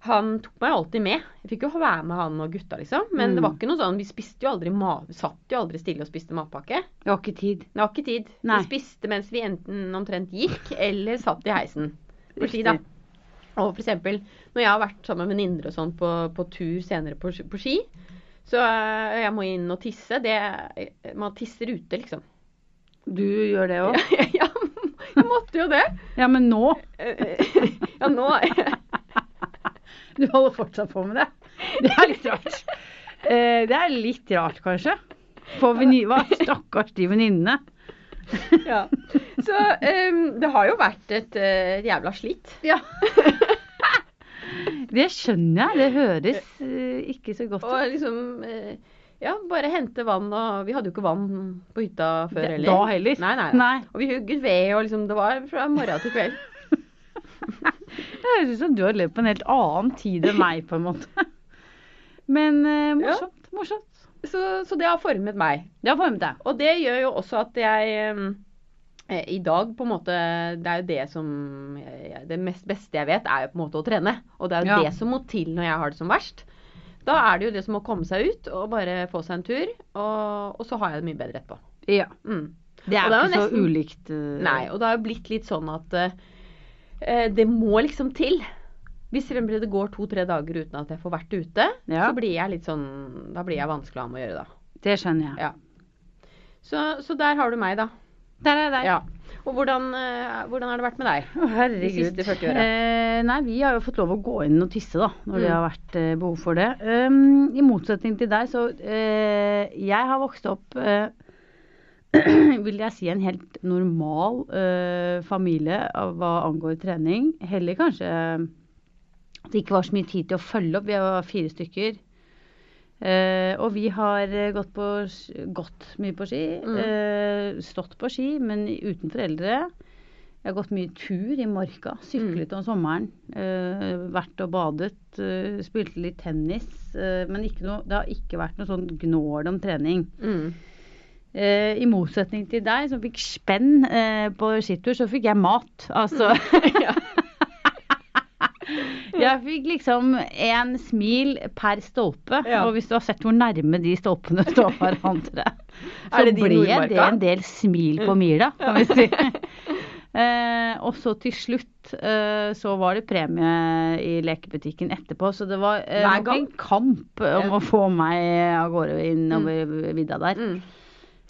han tok meg alltid med. Jeg fikk jo være med han og gutta, liksom. Men det var Mm. ikke noe sånn Vi spiste jo aldri ma satt jo aldri stille og spiste matpakke. Jeg har ikke tid. Det var ikke tid. Nei. Vi spiste mens vi enten omtrent gikk eller satt i heisen. På ski, da. Riktig. Og for eksempel, når jeg har vært sammen med venninner og sånn på, på tur senere på, sk- på ski, så øh, jeg må inn og tisse. Det, eh, man tisser ute, liksom. Du gjør det òg? *laughs* Ja, jeg måtte jo det. Ja, men nå? Eh, *laughs* Ja, nå Du holder fortsatt på med det? Det er litt rart. Eh, det er litt rart, kanskje. For veni- hva? Stakkars de venninnene. ja. Så øhm, det har jo vært et øh, jævla *laughs* slitt. Ja. Det skjønner jeg. Det høres eh, ikke så godt ut. Og liksom øh, Ja, bare hente vann og Vi hadde jo ikke vann på hytta før Det- heller. da heller. Nei, nei, nei. Nei. Og vi hugget ved, og liksom Det var fra morgen til kveld. Det høres ut som du har levd på en helt annen tid enn meg, på en måte. Men eh, Ja. morsomt. Morsomt. Så, så det har formet meg. Det har formet deg. Og det gjør jo også at jeg øhm, eh, i dag på en måte, Det er jo det som eh, Det mest beste jeg vet, er jo på en måte å trene. Og det er jo Ja. det som må til når jeg har det som verst. Da er det jo det som å komme seg ut og bare få seg en tur. Og, og så har jeg det mye bedre etterpå. Ja. Mm. Det er Og det jo er ikke jo så nesten- ulikt. eh, Nei, og det har jo blitt litt sånn at eh, eh, det må liksom til. Hvis for eksempel det går to-tre dager uten at jeg får vært ute, Ja. så blir jeg litt sånn Da blir jeg vanskelig å ha med å gjøre, da. Det skjønner jeg. Ja. Så, så der har du meg, da. Der er deg. Ja. Og hvordan, eh, hvordan har det vært med deg? Å, herregud. De siste 40 åra. Eh, nei, vi har jo fått lov å gå inn og tisse, da, når det Mm. har vært eh, behov for det. Um, I motsetning til deg, så eh, jeg har vokst opp eh, *clears throat* vil jeg si en helt normal eh, familie av hva angår trening. Heller kanskje at det ikke var så mye tid til å følge opp. Vi var fire stykker. Eh, og vi har eh, gått, på, sk- gått mye på ski. Mm. eh, stått på ski, men uten foreldre. Jeg har gått mye tur i marka. Mm. Syklet om sommeren. eh, vært og badet. eh, spilte litt tennis. eh, men ikke noe, det har ikke vært noe sånn gnål om trening. Mm. Eh, I motsetning til deg, som fikk spenn *laughs* eh, på skitur, så fikk jeg mat. Altså. Ja. *laughs* Jeg fikk liksom en smil per stolpe. Ja. Og hvis du har sett hvor nærme de stolpene *laughs* står hverandre, så Er det de i ble Nordmarka? Mm. det en del smil på mila, kan vi si. Eh, og så til slutt eh, så var det premie i lekebutikken etterpå, så det var eh, Hver nok gang? en kamp eh, om å få meg av gårde innover vidda der. *laughs*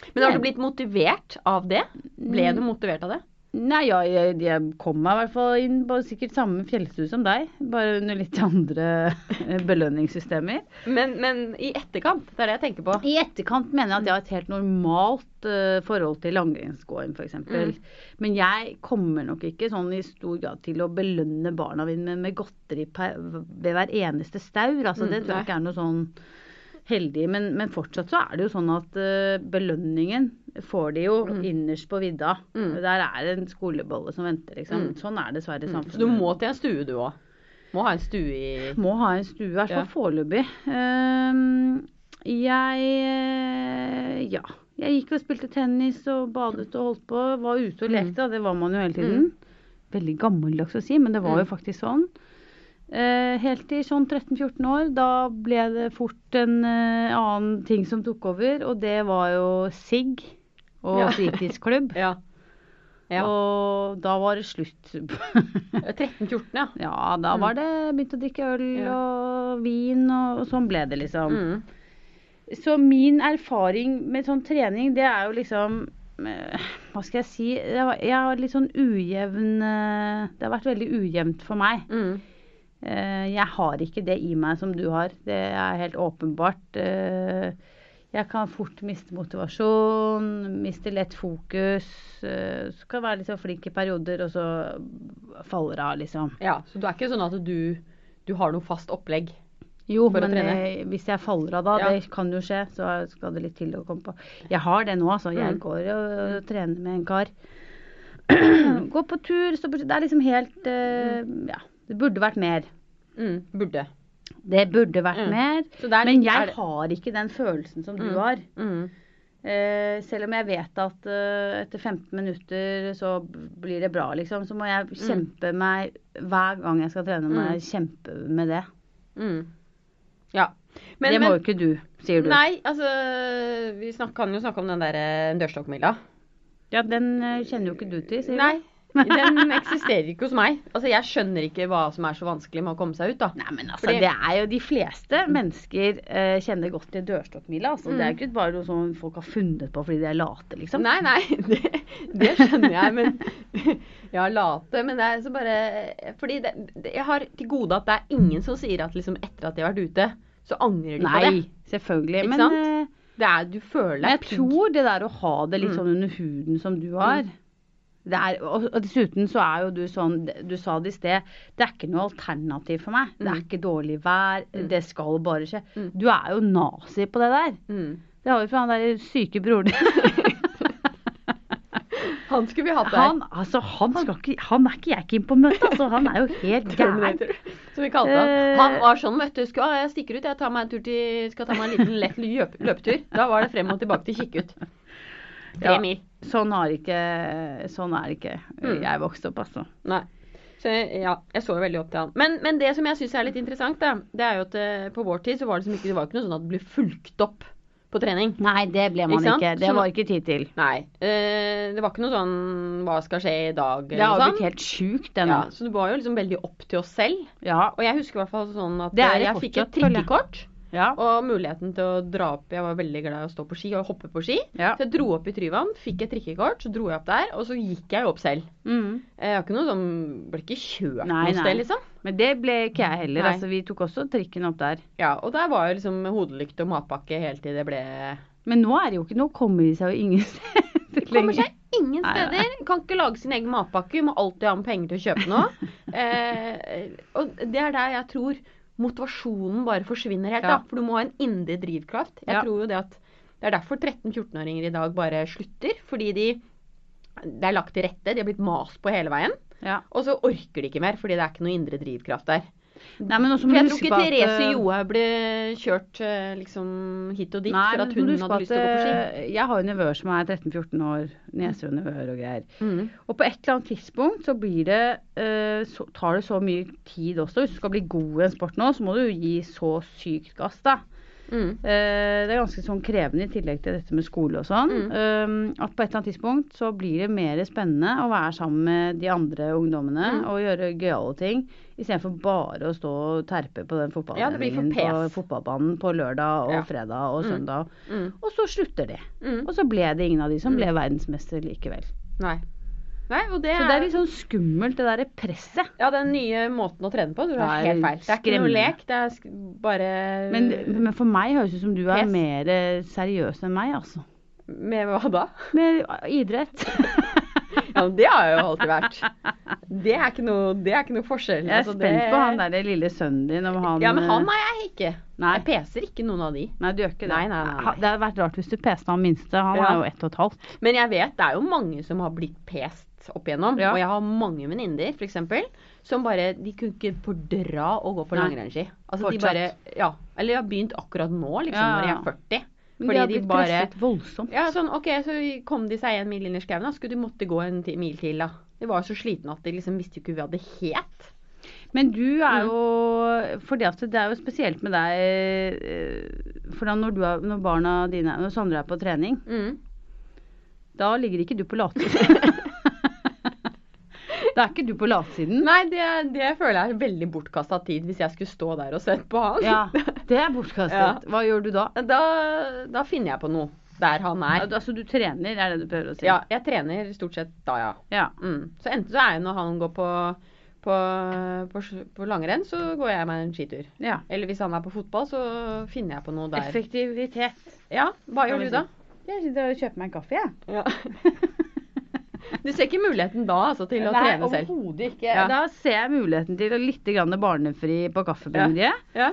Mm. Men har du blitt motivert av det? Ble du motivert av det? Nei, ja, jeg, jeg kom meg i hvert fall inn på sikkert samme fjellstue som deg, bare under litt andre *laughs* belønningssystemer. Men, men i etterkant, det er det jeg tenker på. I etterkant mener jeg at jeg har et helt normalt eh, forhold til langrennsgåing f.eks. eksempel. Mm. Men jeg kommer nok ikke sånn i stor grad til å belønne barna mine med, med godteri per, ved hver eneste staur. Altså, Mm, det tror nei. jeg ikke er noe sånn heldig. Men, men fortsatt så er det jo sånn at eh, belønningen får de jo innerst på vidda. Mm. Der er det en skolebolle som venter, liksom. Mm. Sånn er dessverre samfunnet. Så du må til en stue, du òg. Må ha en stue i Må ha en stue, i hvert fall Ja. foreløpig. Ehm, jeg eh, ja. Jeg gikk og spilte tennis og badet og holdt på. Var ute Mm. og lekte, da. Det var man jo hele tiden. Veldig gammeldags å si, men det var Mm. jo faktisk sånn. Eh, helt til sånn 13-14 år, da ble det fort en eh, annen ting som tok over, og det var jo sigg og Ja. fritidsklubb. Ja. *laughs* ja. Og da var det slutt. *laughs* 13-14, ja. Ja, da var det begynt å drikke øl Mm. Ja. og vin, og, og sånn ble det, liksom. Mm. Så min erfaring med sånn trening, det er jo liksom eh, Hva skal jeg si? Jeg var- jeg har litt sånn ujevn eh, Det har vært veldig ujevnt for meg. Mm. Eh, Jeg har ikke det i meg som du har. Det er helt åpenbart. Eh, Jeg kan fort miste motivasjon, miste lett fokus. eh, Så kan jeg være litt sånn flink i perioder, og så faller det av, liksom. ja. Så du er ikke sånn at du, du har noe fast opplegg? Jo, for å men trene. eh, hvis jeg faller av da, Ja. det kan jo skje, så skal det litt til å komme på. Jeg har det nå, altså. Jeg Mm. går og, og trener med en kar. *clears throat* går på tur, står på Det er liksom helt eh, Ja. Det burde vært mer. Mm. Burde. Det burde vært Mm. mer. Så det er men litt- er jeg det- har ikke den følelsen som Mm. du har. Mm. Eh, selv om jeg vet at eh, etter 15 minutter så b- blir det bra, liksom, så må jeg kjempe meg hver gang jeg skal trene, må Mm. jeg kjempe med det. Mm. Ja. Men, det må men jo ikke du, sier du. Nei, altså Vi snak, kan jo snakke om den der eh, dørstokkmila. Ja, den eh, kjenner jo ikke du til, sier Nei. du? Den eksisterer ikke hos meg. Altså, Jeg skjønner ikke hva som er så vanskelig med å komme seg ut, da. Nei, men altså, Fordi- det er jo de fleste mennesker eh, kjenner godt til dørstokkmila. Altså, Det er jo ikke bare noe som folk har funnet på fordi de er late, liksom. Mm. Nei, nei, *laughs* det, det skjønner jeg, men *laughs* Ja, late, men det er så bare Fordi det, det, jeg har til gode at det er ingen som sier at liksom etter at de har vært ute, så angrer de på det. Nei, selvfølgelig. Ikke Men, sant? eh, Det er, Mm. Du føler men deg jeg tror det der å ha det litt sånn under huden som du har Mm. det er, og og dessuten så er jo du sånn Du sa det i sted. Det er ikke noe alternativ for meg. Det er Mm. ikke dårlig vær. Det skal bare skje. Mm. Du er jo nazi på det der. Mm. Det har vi fra han der syke broren din. Han skulle vi hatt der. Han, altså, han, skal ikke, han er ikke jeg keen på å møte. Altså, han er jo *laughs* helt gæren. Terminator, som vi kalte han. Eh. Han var sånn, vet du, skal jeg stikker ut, jeg tar meg en tur til, skal ta meg en liten lett løp, løpetur. Da var det frem og tilbake til Kikkut. Tre Ja. mil. Sånn, har ikke, sånn er det ikke Mm. jeg vokste opp, altså. Nei. Så ja, jeg så jo veldig opp til han. Men, men det som jeg syns er litt interessant, da, det er jo at eh, på vår tid så var det som ikke, det var ikke noe sånn at det ble fulgt opp på trening. Nei, det ble man Ikke sant? ikke. Det Sånn- var ikke tid til. Nei. eh, det var ikke noe sånn hva skal skje i dag, Det har eller jo noe blitt sånt. helt sjukt, det nå. Ja, så det var jo liksom veldig opp til oss selv. Ja. Og jeg husker i hvert fall sånn at Det er eh, jeg det fikk et fortsatt, føler jeg. trikkekort. Ja. Og muligheten til å dra opp Jeg var veldig glad i å stå på ski og hoppe på ski. Ja. Så jeg dro opp i Tryvann, fikk et trikkekort, så dro jeg opp der, og så gikk jeg jo opp selv. Mm. Jeg har ikke noe sånn Ble ikke kjørt Nei, noe nei. sted, liksom. Men det ble ikke jeg heller. Nei. Altså, vi tok også trikken opp der. Ja, og der var jo liksom hodelykt og matpakke helt til det ble Men nå er det jo ikke Nå kommer de seg jo ingen *laughs* steder Kommer lenger. seg ingen Nei, nei. steder. Kan ikke lage sin egen matpakke, må alltid ha med penger til å kjøpe *laughs* noe. eh, og det er der jeg tror motivasjonen bare forsvinner helt, Ja. da. For du må ha en indre drivkraft. Jeg Ja. tror jo det at det er derfor 13-14-åringer i dag bare slutter. Fordi de Det er lagt til rette, de har blitt mast på hele veien. Ja. Og så orker de ikke mer, fordi det er ikke noe indre drivkraft der. Nei, Altså, men også For må jeg du tror huske ikke på at Therese eh, Johaug ble kjørt eh, liksom hit og dit Nei, for men at må hun du huske hadde på lyst til å gå på ski. at, eh, Jeg har jo nevøer som er 13-14 år. Nieser og nevøer og greier. Mm. Og på et eller annet tidspunkt så blir det eh, så, tar det så mye tid også. Hvis du skal bli god i en sport nå, så må du jo gi så sykt gass, da. Mm. Eh, det er ganske sånn krevende i tillegg til dette med skole og sånn. Mm. eh, at på et eller annet tidspunkt så blir det mer spennende å være sammen med de andre ungdommene Mm. og gjøre gøyale ting, istedenfor bare å stå og terpe på den Ja, det blir for fotballtreningen på pes. fotballbanen på lørdag og Ja. fredag og Mm. søndag. Mm. Og så slutter de. Mm. Og så ble det ingen av de som Mm. ble verdensmester likevel. Nei. Nei, og det Så det er litt sånn skummelt, det derre presset. Ja, den nye måten å trene på. Du har Det er helt feil. Det er ikke noe skremmende. lek. Det er sk bare Men, Mm. men for meg høres det ut som du er Pes. mer eh, seriøs enn meg, *laughs* altså. Med hva da? Med eh, *laughs* idrett. Ja, men det har jeg jo alltid vært. Det er ikke noe, det er ikke noe forskjell. Jeg er Altså, spent det- på han derre lille sønnen din, om han Ja, men han eh, er jeg ikke. Nei. Jeg peser ikke noen av de. Nei, du gjør ikke det. Nei, nei, nei, nei. Ha- Det hadde vært rart hvis du peste han minste. Han Ja. er jo ett og et halvt. Men jeg vet det er jo mange som har blitt pest opp igjennom. Ja. Og jeg har mange venninner, f.eks., som bare De kunne ikke fordra å gå på Nei. langrennsski. Altså, de Fortsatt. bare Ja. Eller de har begynt akkurat nå, liksom, Ja, når de ja. er 40. Men Fordi de har de blitt bare- presset voldsomt. Ja, sånn, ok, så kom de seg en mil inn i skauen, da. Skulle de måtte gå en ti mil til, da. De var jo så slitne at de liksom visste jo ikke hva det het. Men du Mm. er jo fordi at det er jo spesielt med deg eh, For da når, du er, når barna dine Når Sondre er på trening, Mm. da ligger ikke du på *laughs* latsiden. da er ikke du på latsiden. Nei, det, det føler jeg er veldig bortkasta tid hvis jeg skulle stå der og sett på han. Ja, det er bortkastet. Hva gjør du da? Da, *laughs* da finner jeg på noe der han er. Altså du trener, er det du prøver å si? Ja, jeg trener stort sett da, ja. ja. Mm. Så enten så er jeg når han går på, på, på, på langrenn, så går jeg meg en skitur. ja. Eller hvis han er på fotball, så finner jeg på noe der. Effektivitet. Ja, Hva gjør du da? Jeg sitter og kjøper meg en kaffe, *laughs* jeg. *laughs* Du ser ikke muligheten da altså, til å Nei, trene selv? overhodet ikke. Ja. Da ser jeg muligheten til å litt grann barnefri på kaffebrygget. Ja.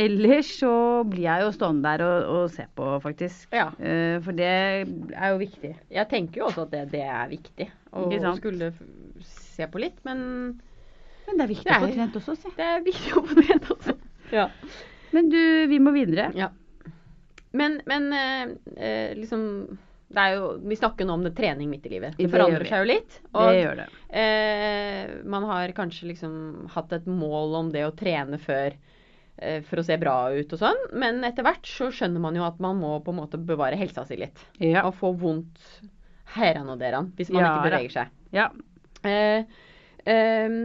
Ellers så blir jeg jo stående der og, og se på, faktisk. ja. Eh, for det er jo viktig. Jeg tenker jo også at det, det er viktig å Ikke sant? skulle f- se på litt, men Men det er viktig å å få få trent også, si. det altså. er viktig å få trent også. Ja. Men du, vi må videre. Men, men eh, eh, liksom det er jo, Vi snakker nå om det trening midt i livet. Det, Det gjør forandrer vi. seg jo litt. det Og gjør det. eh, man har kanskje liksom hatt et mål om det å trene før eh, for å se bra ut og sånn. Men etter hvert så skjønner man jo at man må på en måte bevare helsa si litt. Ja. Og få vondt herran og deran hvis man Ja, ikke da. beveger seg. ja. Eh, ehm,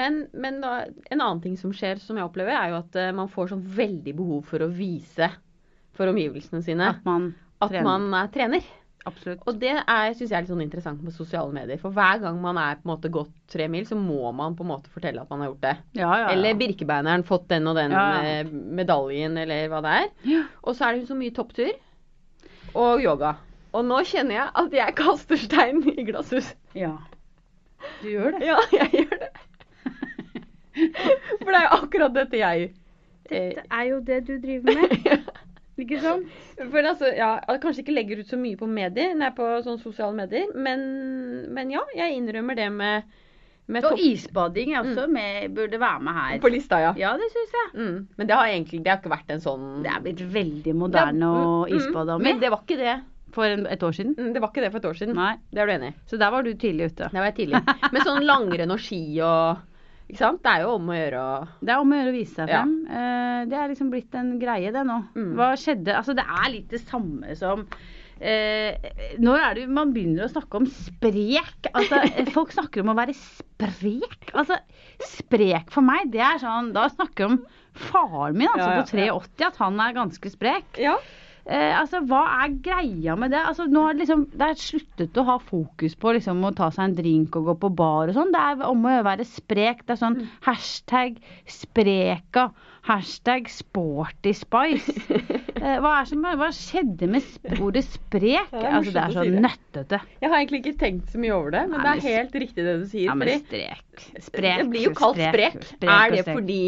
men men da, en annen ting som skjer, som jeg opplever, er jo at eh, man får sånn veldig behov for å vise for omgivelsene sine At man at trener. man er trener. Absolutt. Og det syns jeg er litt sånn interessant med sosiale medier. For hver gang man er på en måte gått tre mil, så må man på en måte fortelle at man har gjort det. Ja, ja, ja. Eller Birkebeineren fått den og den Ja, ja. eh, medaljen, eller hva det er. Ja. Og så er det jo så mye topptur og yoga. Og nå kjenner jeg at jeg kaster stein i glasshus. ja. Du gjør det. *laughs* Ja, jeg gjør det. For det er jo akkurat dette jeg eh, *laughs* Det er jo det du driver med, ikke sant? *laughs* For altså, ja, jeg kanskje ikke legger ut så mye på medier, nei, på sånne sosiale medier, men, men ja, jeg innrømmer det med, *laughs* med Og topp isbading er også med, burde være med her. på lista, ja. Ja, det syns jeg. Mm. Men det har egentlig det har ikke vært en sånn Det er blitt veldig moderne å Mm, mm. isbade om Men det var ikke det. For en, et år siden? Mm, Det var ikke det for et år siden. Nei. Det er du enig i? Så der var du tidlig ute. Det var jeg *laughs* tidlig. Men sånn langrenn og ski og Ikke sant? Det er jo om å gjøre å Det er om å gjøre å vise seg Ja. frem. Eh, det er liksom blitt en greie, det nå. Mm. Hva skjedde? Altså, det er litt det samme som eh, Når er det man begynner å snakke om sprek? Altså, *laughs* folk snakker om å være sprek. Altså, sprek for meg, det er sånn Da snakker jeg om faren min, altså Ja, ja, ja. på 83, at han er ganske sprek. Ja. Eh, altså, Hva er greia med det? Altså, nå har det liksom, Det er sluttet å ha fokus på liksom, å ta seg en drink og gå på bar og sånn. Det er om å gjøre å være sprek. Det er sånn Mm. hashtag spreka. Hashtag sporty spice. *laughs* Eh, hva, er som, hva skjedde med sp- ordet sprek? Ja, det er altså, det morsomt er å så si det. nøttete. Jeg har egentlig ikke tenkt så mye over det, Nei, men det men- er helt riktig det du sier. Ja, men fordi strek. Sprek. det blir jo kalt sprek. og er det strek. fordi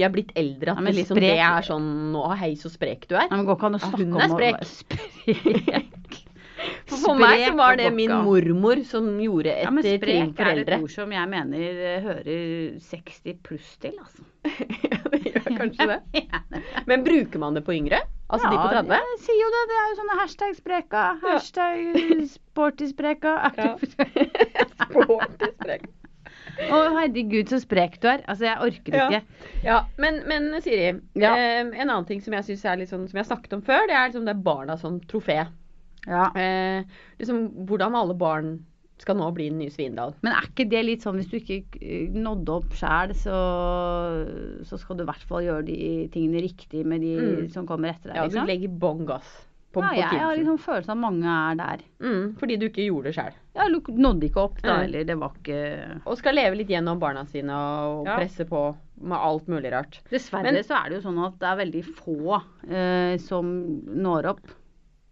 vi er blitt eldre Ja, at det men liksom, sprek- det er sånn Å, hei, så sprek du er. Nei, men det går ikke an å Ja, snakke hun om er å- *laughs* sprek. For, for meg så Sprek var og det min bokka. mormor som gjorde etter Ja, men ting sprek er et foreldre. ord som jeg mener eh, hører 60 pluss til, altså. *laughs* ja, det gjør *laughs* kanskje *laughs* det. *laughs* Men bruker man det på yngre? Altså de på 30? Jeg sier jo det. Det er jo sånne hashtag-spreka. Hashtag sporty-spreka. *laughs* Ja. *laughs* Sporty sprek. Å, herregud, så sprek du er. Altså, jeg orker Ja. ikke. Ja, men, men Siri, Ja. eh, en annen ting som jeg synes er litt sånn, som jeg har snakket om før, det er liksom det er barna som trofé. Ja. Eh, liksom, hvordan alle barn skal nå bli den nye Svindal. Men er ikke det litt sånn hvis du ikke eh, nådde opp sjæl, så, så skal du i hvert fall gjøre de tingene riktig med de Mm. som kommer etter deg, Ja, du liksom? legger bånn gass på, ja, på jeg, jeg har kidsen. liksom følelsen av at mange er der. mm, fordi du ikke gjorde det sjøl. Ja, luk- nådde ikke opp da, Mm. eller det var ikke Og skal leve litt gjennom barna sine og Ja. presse på med alt mulig rart. Dessverre Men- så er det jo sånn at det er veldig få eh, som når opp.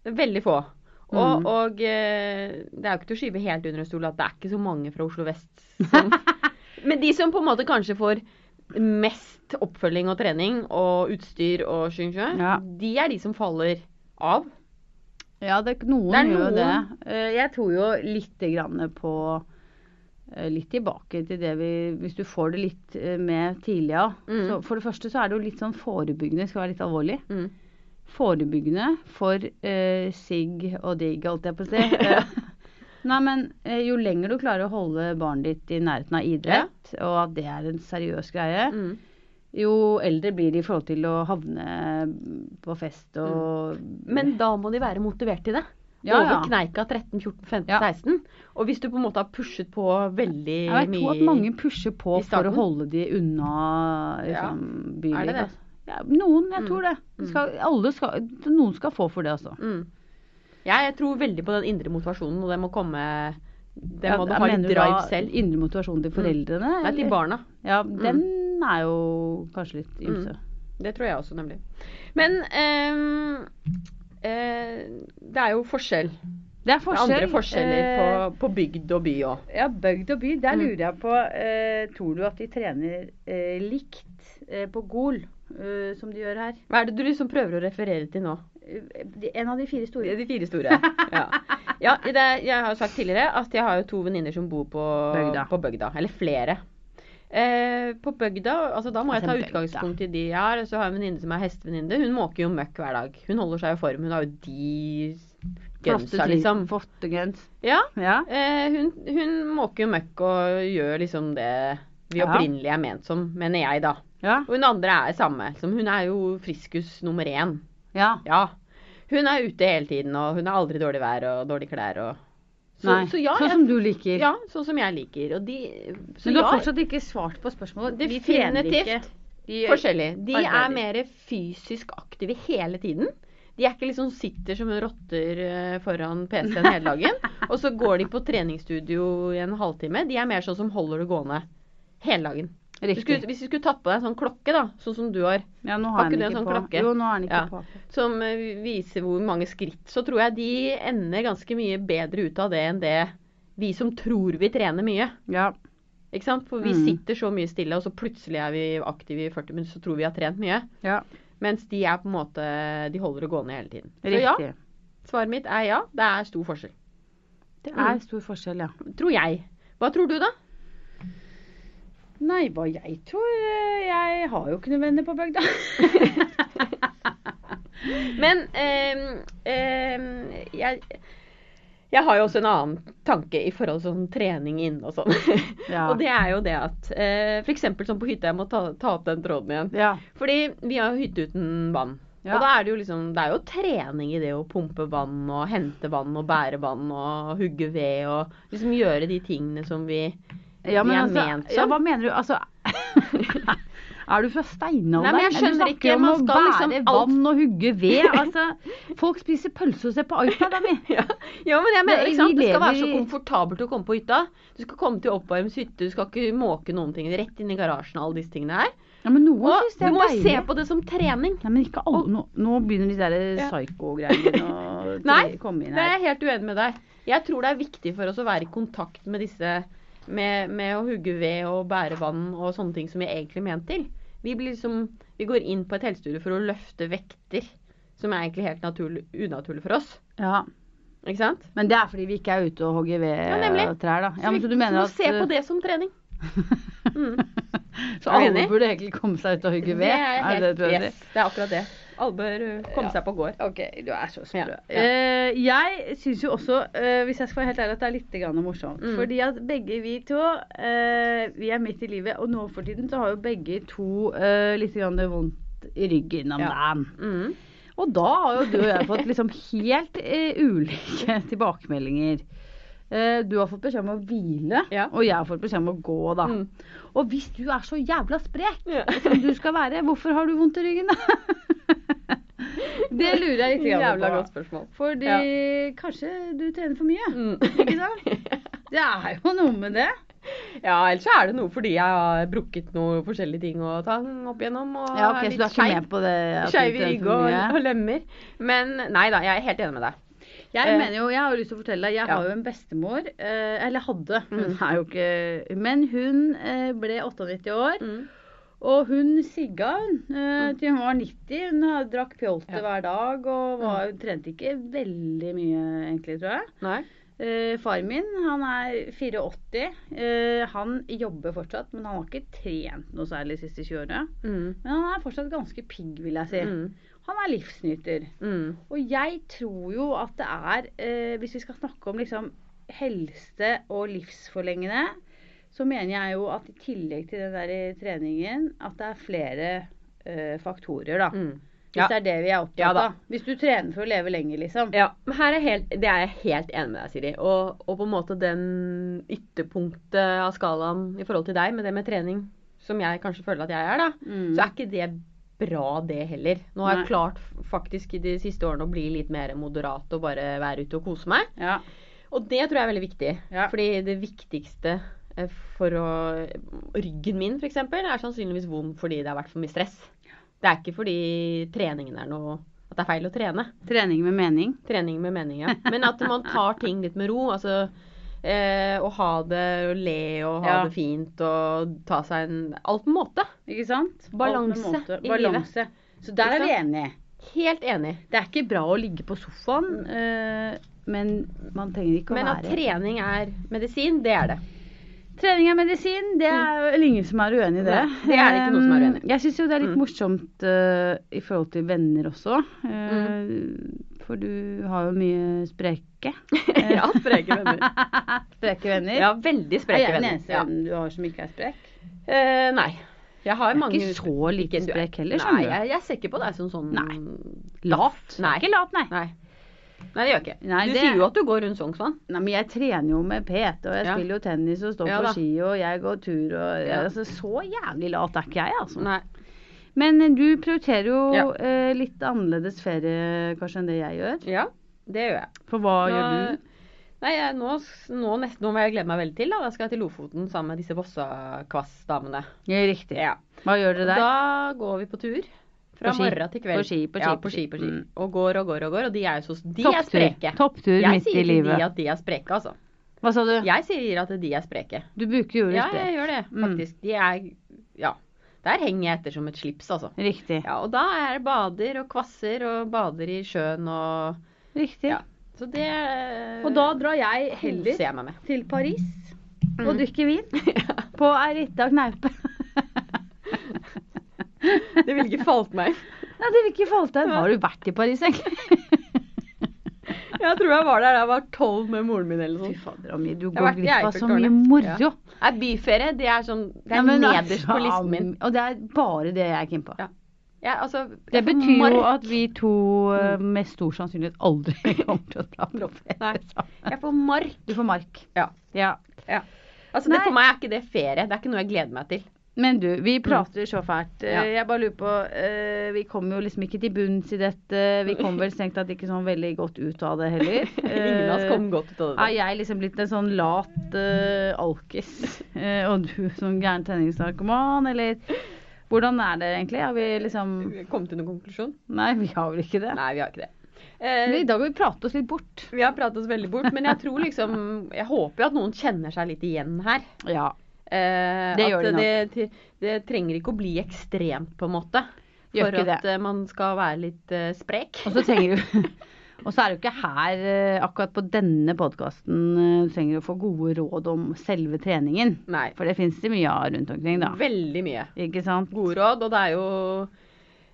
Veldig få. Og, Mm. og eh, det er jo ikke til å skyve helt under en stol at det er ikke så mange fra Oslo *laughs* vest som Men de som på en måte kanskje får mest oppfølging og trening og utstyr og skyng skyng, Ja. de er de som faller av. Ja, det, noen, Det er gjør jo det. noen. Eh, Jeg tror jo lite grann på eh, Litt tilbake til det vi Hvis du får det litt eh, med tidligere. Mm. Så for det første så er det jo litt sånn forebyggende, skal være litt alvorlig. Mm. Forebyggende for eh, sigg og digg, holdt jeg *laughs* på å si. Eh, Nei, men eh, jo lenger du klarer å holde barnet ditt i nærheten av idrett, og at det er en seriøs greie, Mm. jo eldre blir de i forhold til å havne på fest og Mm. Men da må de være motivert til det. Ja, Over ja. kneika 13, 14, 15, Ja. 16. Og hvis du på en måte har pushet på veldig Ja, Jeg tror at mange pusher på i for å starten. holde de unna liksom, byliv. Er det det? altså. Ja, noen, jeg Mm. tror det. Vi Skal, alle skal, noen skal få for det, altså. mm. Ja, jeg tror veldig på den indre motivasjonen, og det må komme Det Ja, må du ha mener litt du da drive selv. Mm. Indre motivasjon til foreldrene? Nei, Mm. til eller? barna. Ja, den er jo kanskje Mm. litt ymse. Det tror jeg også, nemlig. Men ehm, eh, det er jo forskjell. Det er Det er forskjell. andre forskjeller på, eh, på bygd og by òg. Ja, bygd og by. Der Mm. lurer jeg på eh, Tror du at de trener eh, likt eh, på Gol, eh, som de gjør her? Hva er det du liksom prøver å referere til nå? Eh, de- En av de fire store. De fire store. Ja, ja det, jeg har jo sagt tidligere at jeg har jo to venninner som bor på Bygda. på bygda eller flere. Eh, på bygda altså Da må jeg Altså, ta bygda. utgangspunkt i de jeg har. Og så har jeg en venninne som er hestevenninne. Hun måker jo møkk hver dag. Hun holder seg i form. Hun har jo de Flotte gensa, ting. liksom. Flotte gens. Ja, Ja. Eh, hun, hun måker jo møkk og gjør liksom det vi Ja. opprinnelig er ment som, mener jeg, da. Ja. Og hun andre er samme. Som hun er jo friskus nummer én. ja. Ja. Hun er ute hele tiden, og hun har aldri dårlig vær og dårlige klær og Så, Nei. så ja, sånn jeg, som du liker. ja, sånn som jeg liker. Og de Så Men du har ja, fortsatt ikke svart på spørsmålet. De trener ikke. definitivt De- forskjellig. De arbeider. er mer fysisk aktive hele tiden. De er ikke liksom sitter som rotter eh, foran PC-en hele dagen. *laughs* Og så går de på treningsstudio i en halvtime. De er mer sånn som holder det gående hele dagen. Du skulle, Riktig. hvis du skulle tatt på deg en sånn klokke, da, sånn som du har, Ja, nå har Har jeg ikke du den en ikke sånn på. klokke? Jo, nå er den ikke Ja. på. som eh, viser hvor mange skritt, så tror jeg de ender ganske mye bedre ut av det enn det vi som tror vi trener mye. Ja. Ikke sant? For vi Mm. sitter så mye stille, og så plutselig er vi aktive i 40 minutter, så tror vi har trent mye. ja. Mens de er på en måte De holder det gående hele tiden. Så ja, Riktig. svaret mitt er ja. Det er stor forskjell. Det er stor forskjell, ja. Tror jeg. Hva tror du, da? Nei, hva jeg tror eh, Jeg har jo ikke noen venner på bygda. Men ehm, ehm, jeg jeg har jo også en annen tanke i forhold til sånn trening inne og sånn. *laughs* *laughs* Ja. og det er jo det at eh, F.eks. sånn på hytta, jeg må ta, ta opp den tråden igjen. ja. Fordi vi har jo hytte uten vann. Ja. Og da er det jo liksom Det er jo trening i det å pumpe vann og hente vann og bære vann og hugge ved og liksom gjøre de tingene som vi ja men vi er altså, ment ja, som. hva mener du? Altså *laughs* Er du fra steinalderen? Nei, men jeg Du skjønner snakker ikke, om man å skal bære liksom alt- vann og hugge ved. Altså, folk spiser pølse og ser på iPad, da, vi. *laughs* ja. ja, men jeg Men mener ikke sant? vi Det skal være lever så i- komfortabelt å komme på hytta. Du skal komme til oppvarmet hytte, du skal ikke måke noen ting rett inn i garasjen og alle disse tingene her. Ja, men noen Og syns du det er må deilig. se på det som trening. Nei, men ikke alle. Nå, nå begynner de der Ja. psyko-greiene *laughs* å Nei, til- komme inn Det er her. jeg helt uenig med deg. Jeg tror det er viktig for oss å være i kontakt med disse med, med å hugge ved og bære vann og sånne ting som vi er egentlig ment til. Vi, blir liksom, vi går inn på et helsestudio for å løfte vekter, som er egentlig helt naturlig, unaturlig for oss. Ja. Ikke sant? Men det er fordi vi ikke er ute og hogger ved Ja, nemlig. trær, da. Ja, vi men så du mener må at *laughs* eh, se på det som trening. Mm. Så Er du alle enig? burde egentlig komme seg ut og hogge ved? jeg Er det det du prøver å si? yes, det er akkurat det. Alle bør uh, komme Ja. seg på gård. Ok, du er så sprø. Ja, ja. Eh, jeg syns jo også, eh, hvis jeg skal være helt ærlig, at det er litt grann morsomt. Mm. Fordi at begge vi to, eh, vi er midt i livet, og nå for tiden så har jo begge to eh, litt grann vondt i ryggen om Ja. dagen. Mm. Og da har jo du og jeg fått liksom helt eh, ulike *laughs* tilbakemeldinger. Eh, du har fått beskjed om å hvile, Ja. og jeg har fått beskjed om å gå, da. Mm. Og hvis du er så jævla sprek *laughs* Ja. som du skal være, hvorfor har du vondt i ryggen, da? *laughs* det lurer jeg litt grann Jævla på. godt spørsmål. Fordi kanskje du trener for mye? *laughs* Ikke Mm. sant? *laughs* Det er jo noe med det. ja, ellers så er det noe fordi jeg har brukket noe forskjellige ting og tang opp igjennom. Og er litt skeiv- på det? skeiv i rygg og, og lemmer. Men nei da, jeg er helt enig med deg. Jeg Eh, mener jo, jeg har jo lyst til å fortelle deg, jeg ja. har jo en bestemor, eh, eller hadde, hun Mm. er jo ikke Men hun eh, ble 98 år, Mm. og hun sigga hun eh, til hun var 90. Hun har- drakk pjolter Ja. Mm. hver dag og var, hun trente ikke veldig mye, egentlig, tror jeg. Nei. Eh, far min, han er 84. Eh, han jobber fortsatt, men han har ikke trent noe særlig de siste 20 årene. Mm. Men han er fortsatt ganske pigg, vil jeg si. Mm. Han er livsnyter. Mm. Og jeg tror jo at det er, eh, hvis vi skal snakke om liksom helse og livsforlengende, så mener jeg jo at i tillegg til den der i treningen, at det er flere eh, faktorer, da. Mm. Hvis Ja. det er det vi er opptatt Ja da. av. Hvis du trener for å leve lenger, liksom. Ja, men her er helt, det er jeg helt enig med deg, Siri. Og, og på en måte den ytterpunktet av skalaen i forhold til deg, med det med trening, som jeg kanskje føler at jeg er, da, Mm. så er ikke det bra, det heller. Nå har jeg Nei. klart f- faktisk i de siste årene å bli litt mer moderat og bare være ute og kose meg. Ja. Og det tror jeg er veldig viktig. Ja. Fordi det viktigste eh, for å Ryggen min, f.eks., er sannsynligvis vond fordi det har vært for mye stress. Det er ikke fordi treningen er noe At det er feil å trene. Trening med mening. Trening med mening, *laughs* ja. Men at man tar ting litt med ro. Altså eh, å ha det og le og ha Ja. det fint og ta seg en Alt på en måte. Ikke sant? Balanse Alt med måte. i livet. Balanse. Så der er Ikke vi enige. Helt enig. Det er ikke bra å ligge på sofaen, eh, men man trenger ikke å Men at være trening er medisin, det *laughs* er det. Trening er medisin, det er vel ingen som er uenig i det. Mm. Eh, Nei, det er det ikke noen som er uenig i. Jeg syns jo det er litt Mm. morsomt eh, i forhold til venner også. eh, Mm. For du har jo mye spreke. *laughs* ja, spreke venner. *laughs* spreke venner. Ja, veldig er spreke jeg den venner. eneste Ja. vennen du har som ikke er sprek? Eh, nei. Jeg har Jeg er mange ikke så lite Ikke- du er- sprek heller, Nei, skjønner du. jeg, jeg ser ikke på deg som sånn Nei. Lat? Nei. Nei. Ikke lat, nei. Nei. Nei, det gjør jeg ikke. Nei, du det- sier jo at du går rundt Sognsvann. nei. Men jeg trener jo med PT, og jeg Ja. spiller jo tennis og står Ja da. på ski, og jeg går tur og Ja. altså, Så jævlig lat er ikke jeg, altså. Nei. Men eh, du prioriterer jo Ja. eh, litt annerledes ferie kanskje enn det jeg gjør. Ja, det gjør jeg. For hva gjør du? Nei, jeg, nå, nå, nesten, nå må jeg glede meg veldig til. Da. da skal jeg til Lofoten sammen med disse Vossakvass-damene. Ja, riktig. Ja. Hva gjør dere der? Da går vi på tur. Fra På ski. morgen til kveld. På ski, på ski, ja, på på ski, ski. på ski. Mm. Og går og går og går. Og de er jo så De er Topptur. spreke. Topptur jeg midt i sier ikke livet. de at de er spreke, altså. Hva sa du? Jeg sier at de er spreke. Du bruker jo ordet Ja, jeg sprek. gjør det, Mm. faktisk. De er Ja. Der henger jeg etter som et slips, altså. Riktig. Ja, og da er det bader og kvasser og bader i sjøen og Riktig. Ja. Så det Og da drar jeg koser heller jeg meg med. til Paris og Mm. *laughs* drikker vin på ei lita *laughs* kneipe. Det ville ikke falt meg. Nei, det vil ikke falle deg. Har du vært i Paris, egentlig? Jeg tror jeg var der da jeg var tolv med moren min eller Fy noe sånt. fader, Ami, du har går vært i glipp av så mye Eiffeltårnet. moro. Ja. Nei, byferie, det er sånn Det Ja, er men nederst altså, på listen min. Og det er bare det jeg er keen på. Ja. Jeg, altså, Det jeg får betyr jo mark- at vi to eh, med stor sannsynlighet aldri *laughs* kommer til å dra på Nei. ferie sammen. Jeg får mark. Du får mark. Ja. ja. Altså, det, Nei. for meg er ikke det ferie. Det er ikke noe jeg gleder meg til. Men du, vi prater så fælt. Eh, Mm. Ja. Jeg bare lurer på eh, Vi kommer jo liksom ikke til bunns i dette. Vi kom vel strengt tatt ikke sånn veldig godt ut av det heller. *laughs* Eh, Ingen av oss kom godt ut Er av det. jeg liksom blitt en sånn lat eh, alkis, eh, og du som gæren tenningsnarkoman, eller Hvordan er det egentlig? Har vi liksom Kom til noen konklusjon? Nei, vi har vel ikke det. *laughs* Nei, vi har ikke det. Eh, Men I dag har vi pratet oss litt bort. vi har pratet oss veldig bort, men jeg tror liksom Jeg håper jo at noen kjenner seg litt igjen her. Ja. Eh, Det at gjør de det, det trenger ikke å bli ekstremt, på en måte. Gjør For ikke at eh, man skal være litt eh, sprek. Og så trenger du *laughs* Og så er det jo ikke her, eh, akkurat på denne podkasten, du trenger å få gode råd om selve treningen. Nei. For det fins det mye av rundt omkring, da. Veldig mye. Ikke sant? Gode råd, og det er jo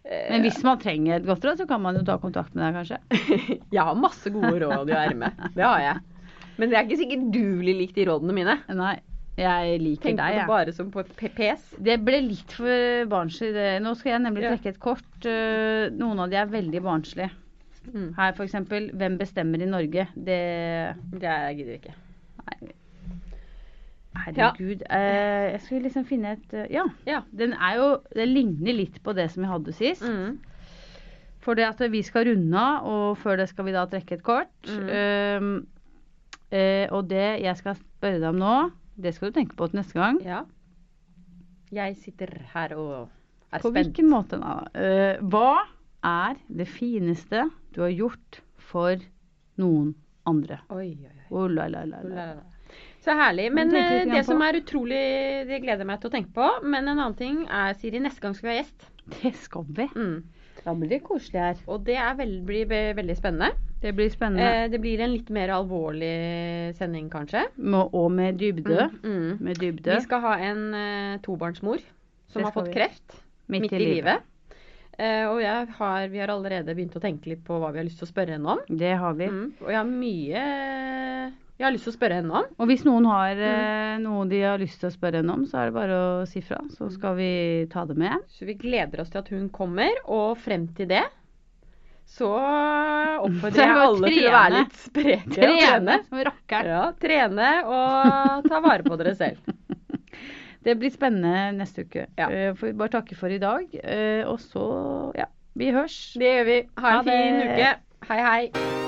eh, Men hvis man trenger et godt råd, så kan man jo ta kontakt med deg, kanskje. *laughs* Jeg har masse gode råd i ermet. Det har jeg. Men det er ikke sikkert du blir likt de rådene mine. Nei, jeg liker Tenk på deg, det jeg. bare som på PPS. Det ble litt for barnslig. det. Nå skal jeg nemlig Ja. trekke et kort. Eh, Noen av de er veldig barnslige. Mm. Her f.eks.: Hvem bestemmer i Norge? Det Det er- jeg gidder ikke. Nei. Herregud. Eh, jeg skulle liksom finne et eh, Ja. Ja. Den er jo Det ligner litt på det som vi hadde sist. Mm. For det at vi skal runde av, og før det skal vi da trekke et kort. Mm. Um, eh, og det jeg skal spørre deg om nå, det skal du tenke på til neste gang. ja. Jeg sitter her og er På spent. hvilken måte da? Eh, hva er det fineste du har gjort for noen andre? Oi, oi, oi. Oh, la, la, la, La, la. la, la. Så herlig. Men Men tenk litt eh, grann det som på- er utrolig Det gleder jeg meg til å tenke på. Men en annen ting er, Siri, neste gang skal vi ha gjest. Det skal vi. Mm. Da blir det koselig her. Mm. Og det er veld, blir ve- veldig spennende. Det blir spennende. Eh, det blir en litt mer alvorlig sending, kanskje. Med, og med dybde. Mm. Med dybde. Vi skal ha en eh, tobarnsmor som Det har skal vi. fått kreft midt, i livet. Eh, og jeg har, vi har allerede begynt å tenke litt på hva vi har lyst til å spørre henne om. Det har vi. Mm. Og jeg har mye jeg har lyst til å spørre henne om. Og hvis noen har eh, noe de har lyst til å spørre henne om, så er det bare å si fra. Så skal vi ta det med. Så vi gleder oss til at hun kommer, og frem til det så oppfordrer *laughs* Så er det jeg bare alle til å trene. være litt spreke. og Trene som rakkeren. Ja, trene og ta vare på *laughs* dere selv. Det blir spennende neste uke. Ja. Eh, Får vi bare takke for i dag. eh, Og så, ja. Vi hørs. Det gjør vi. Ha Ha en fin det. uke. Hei, hei.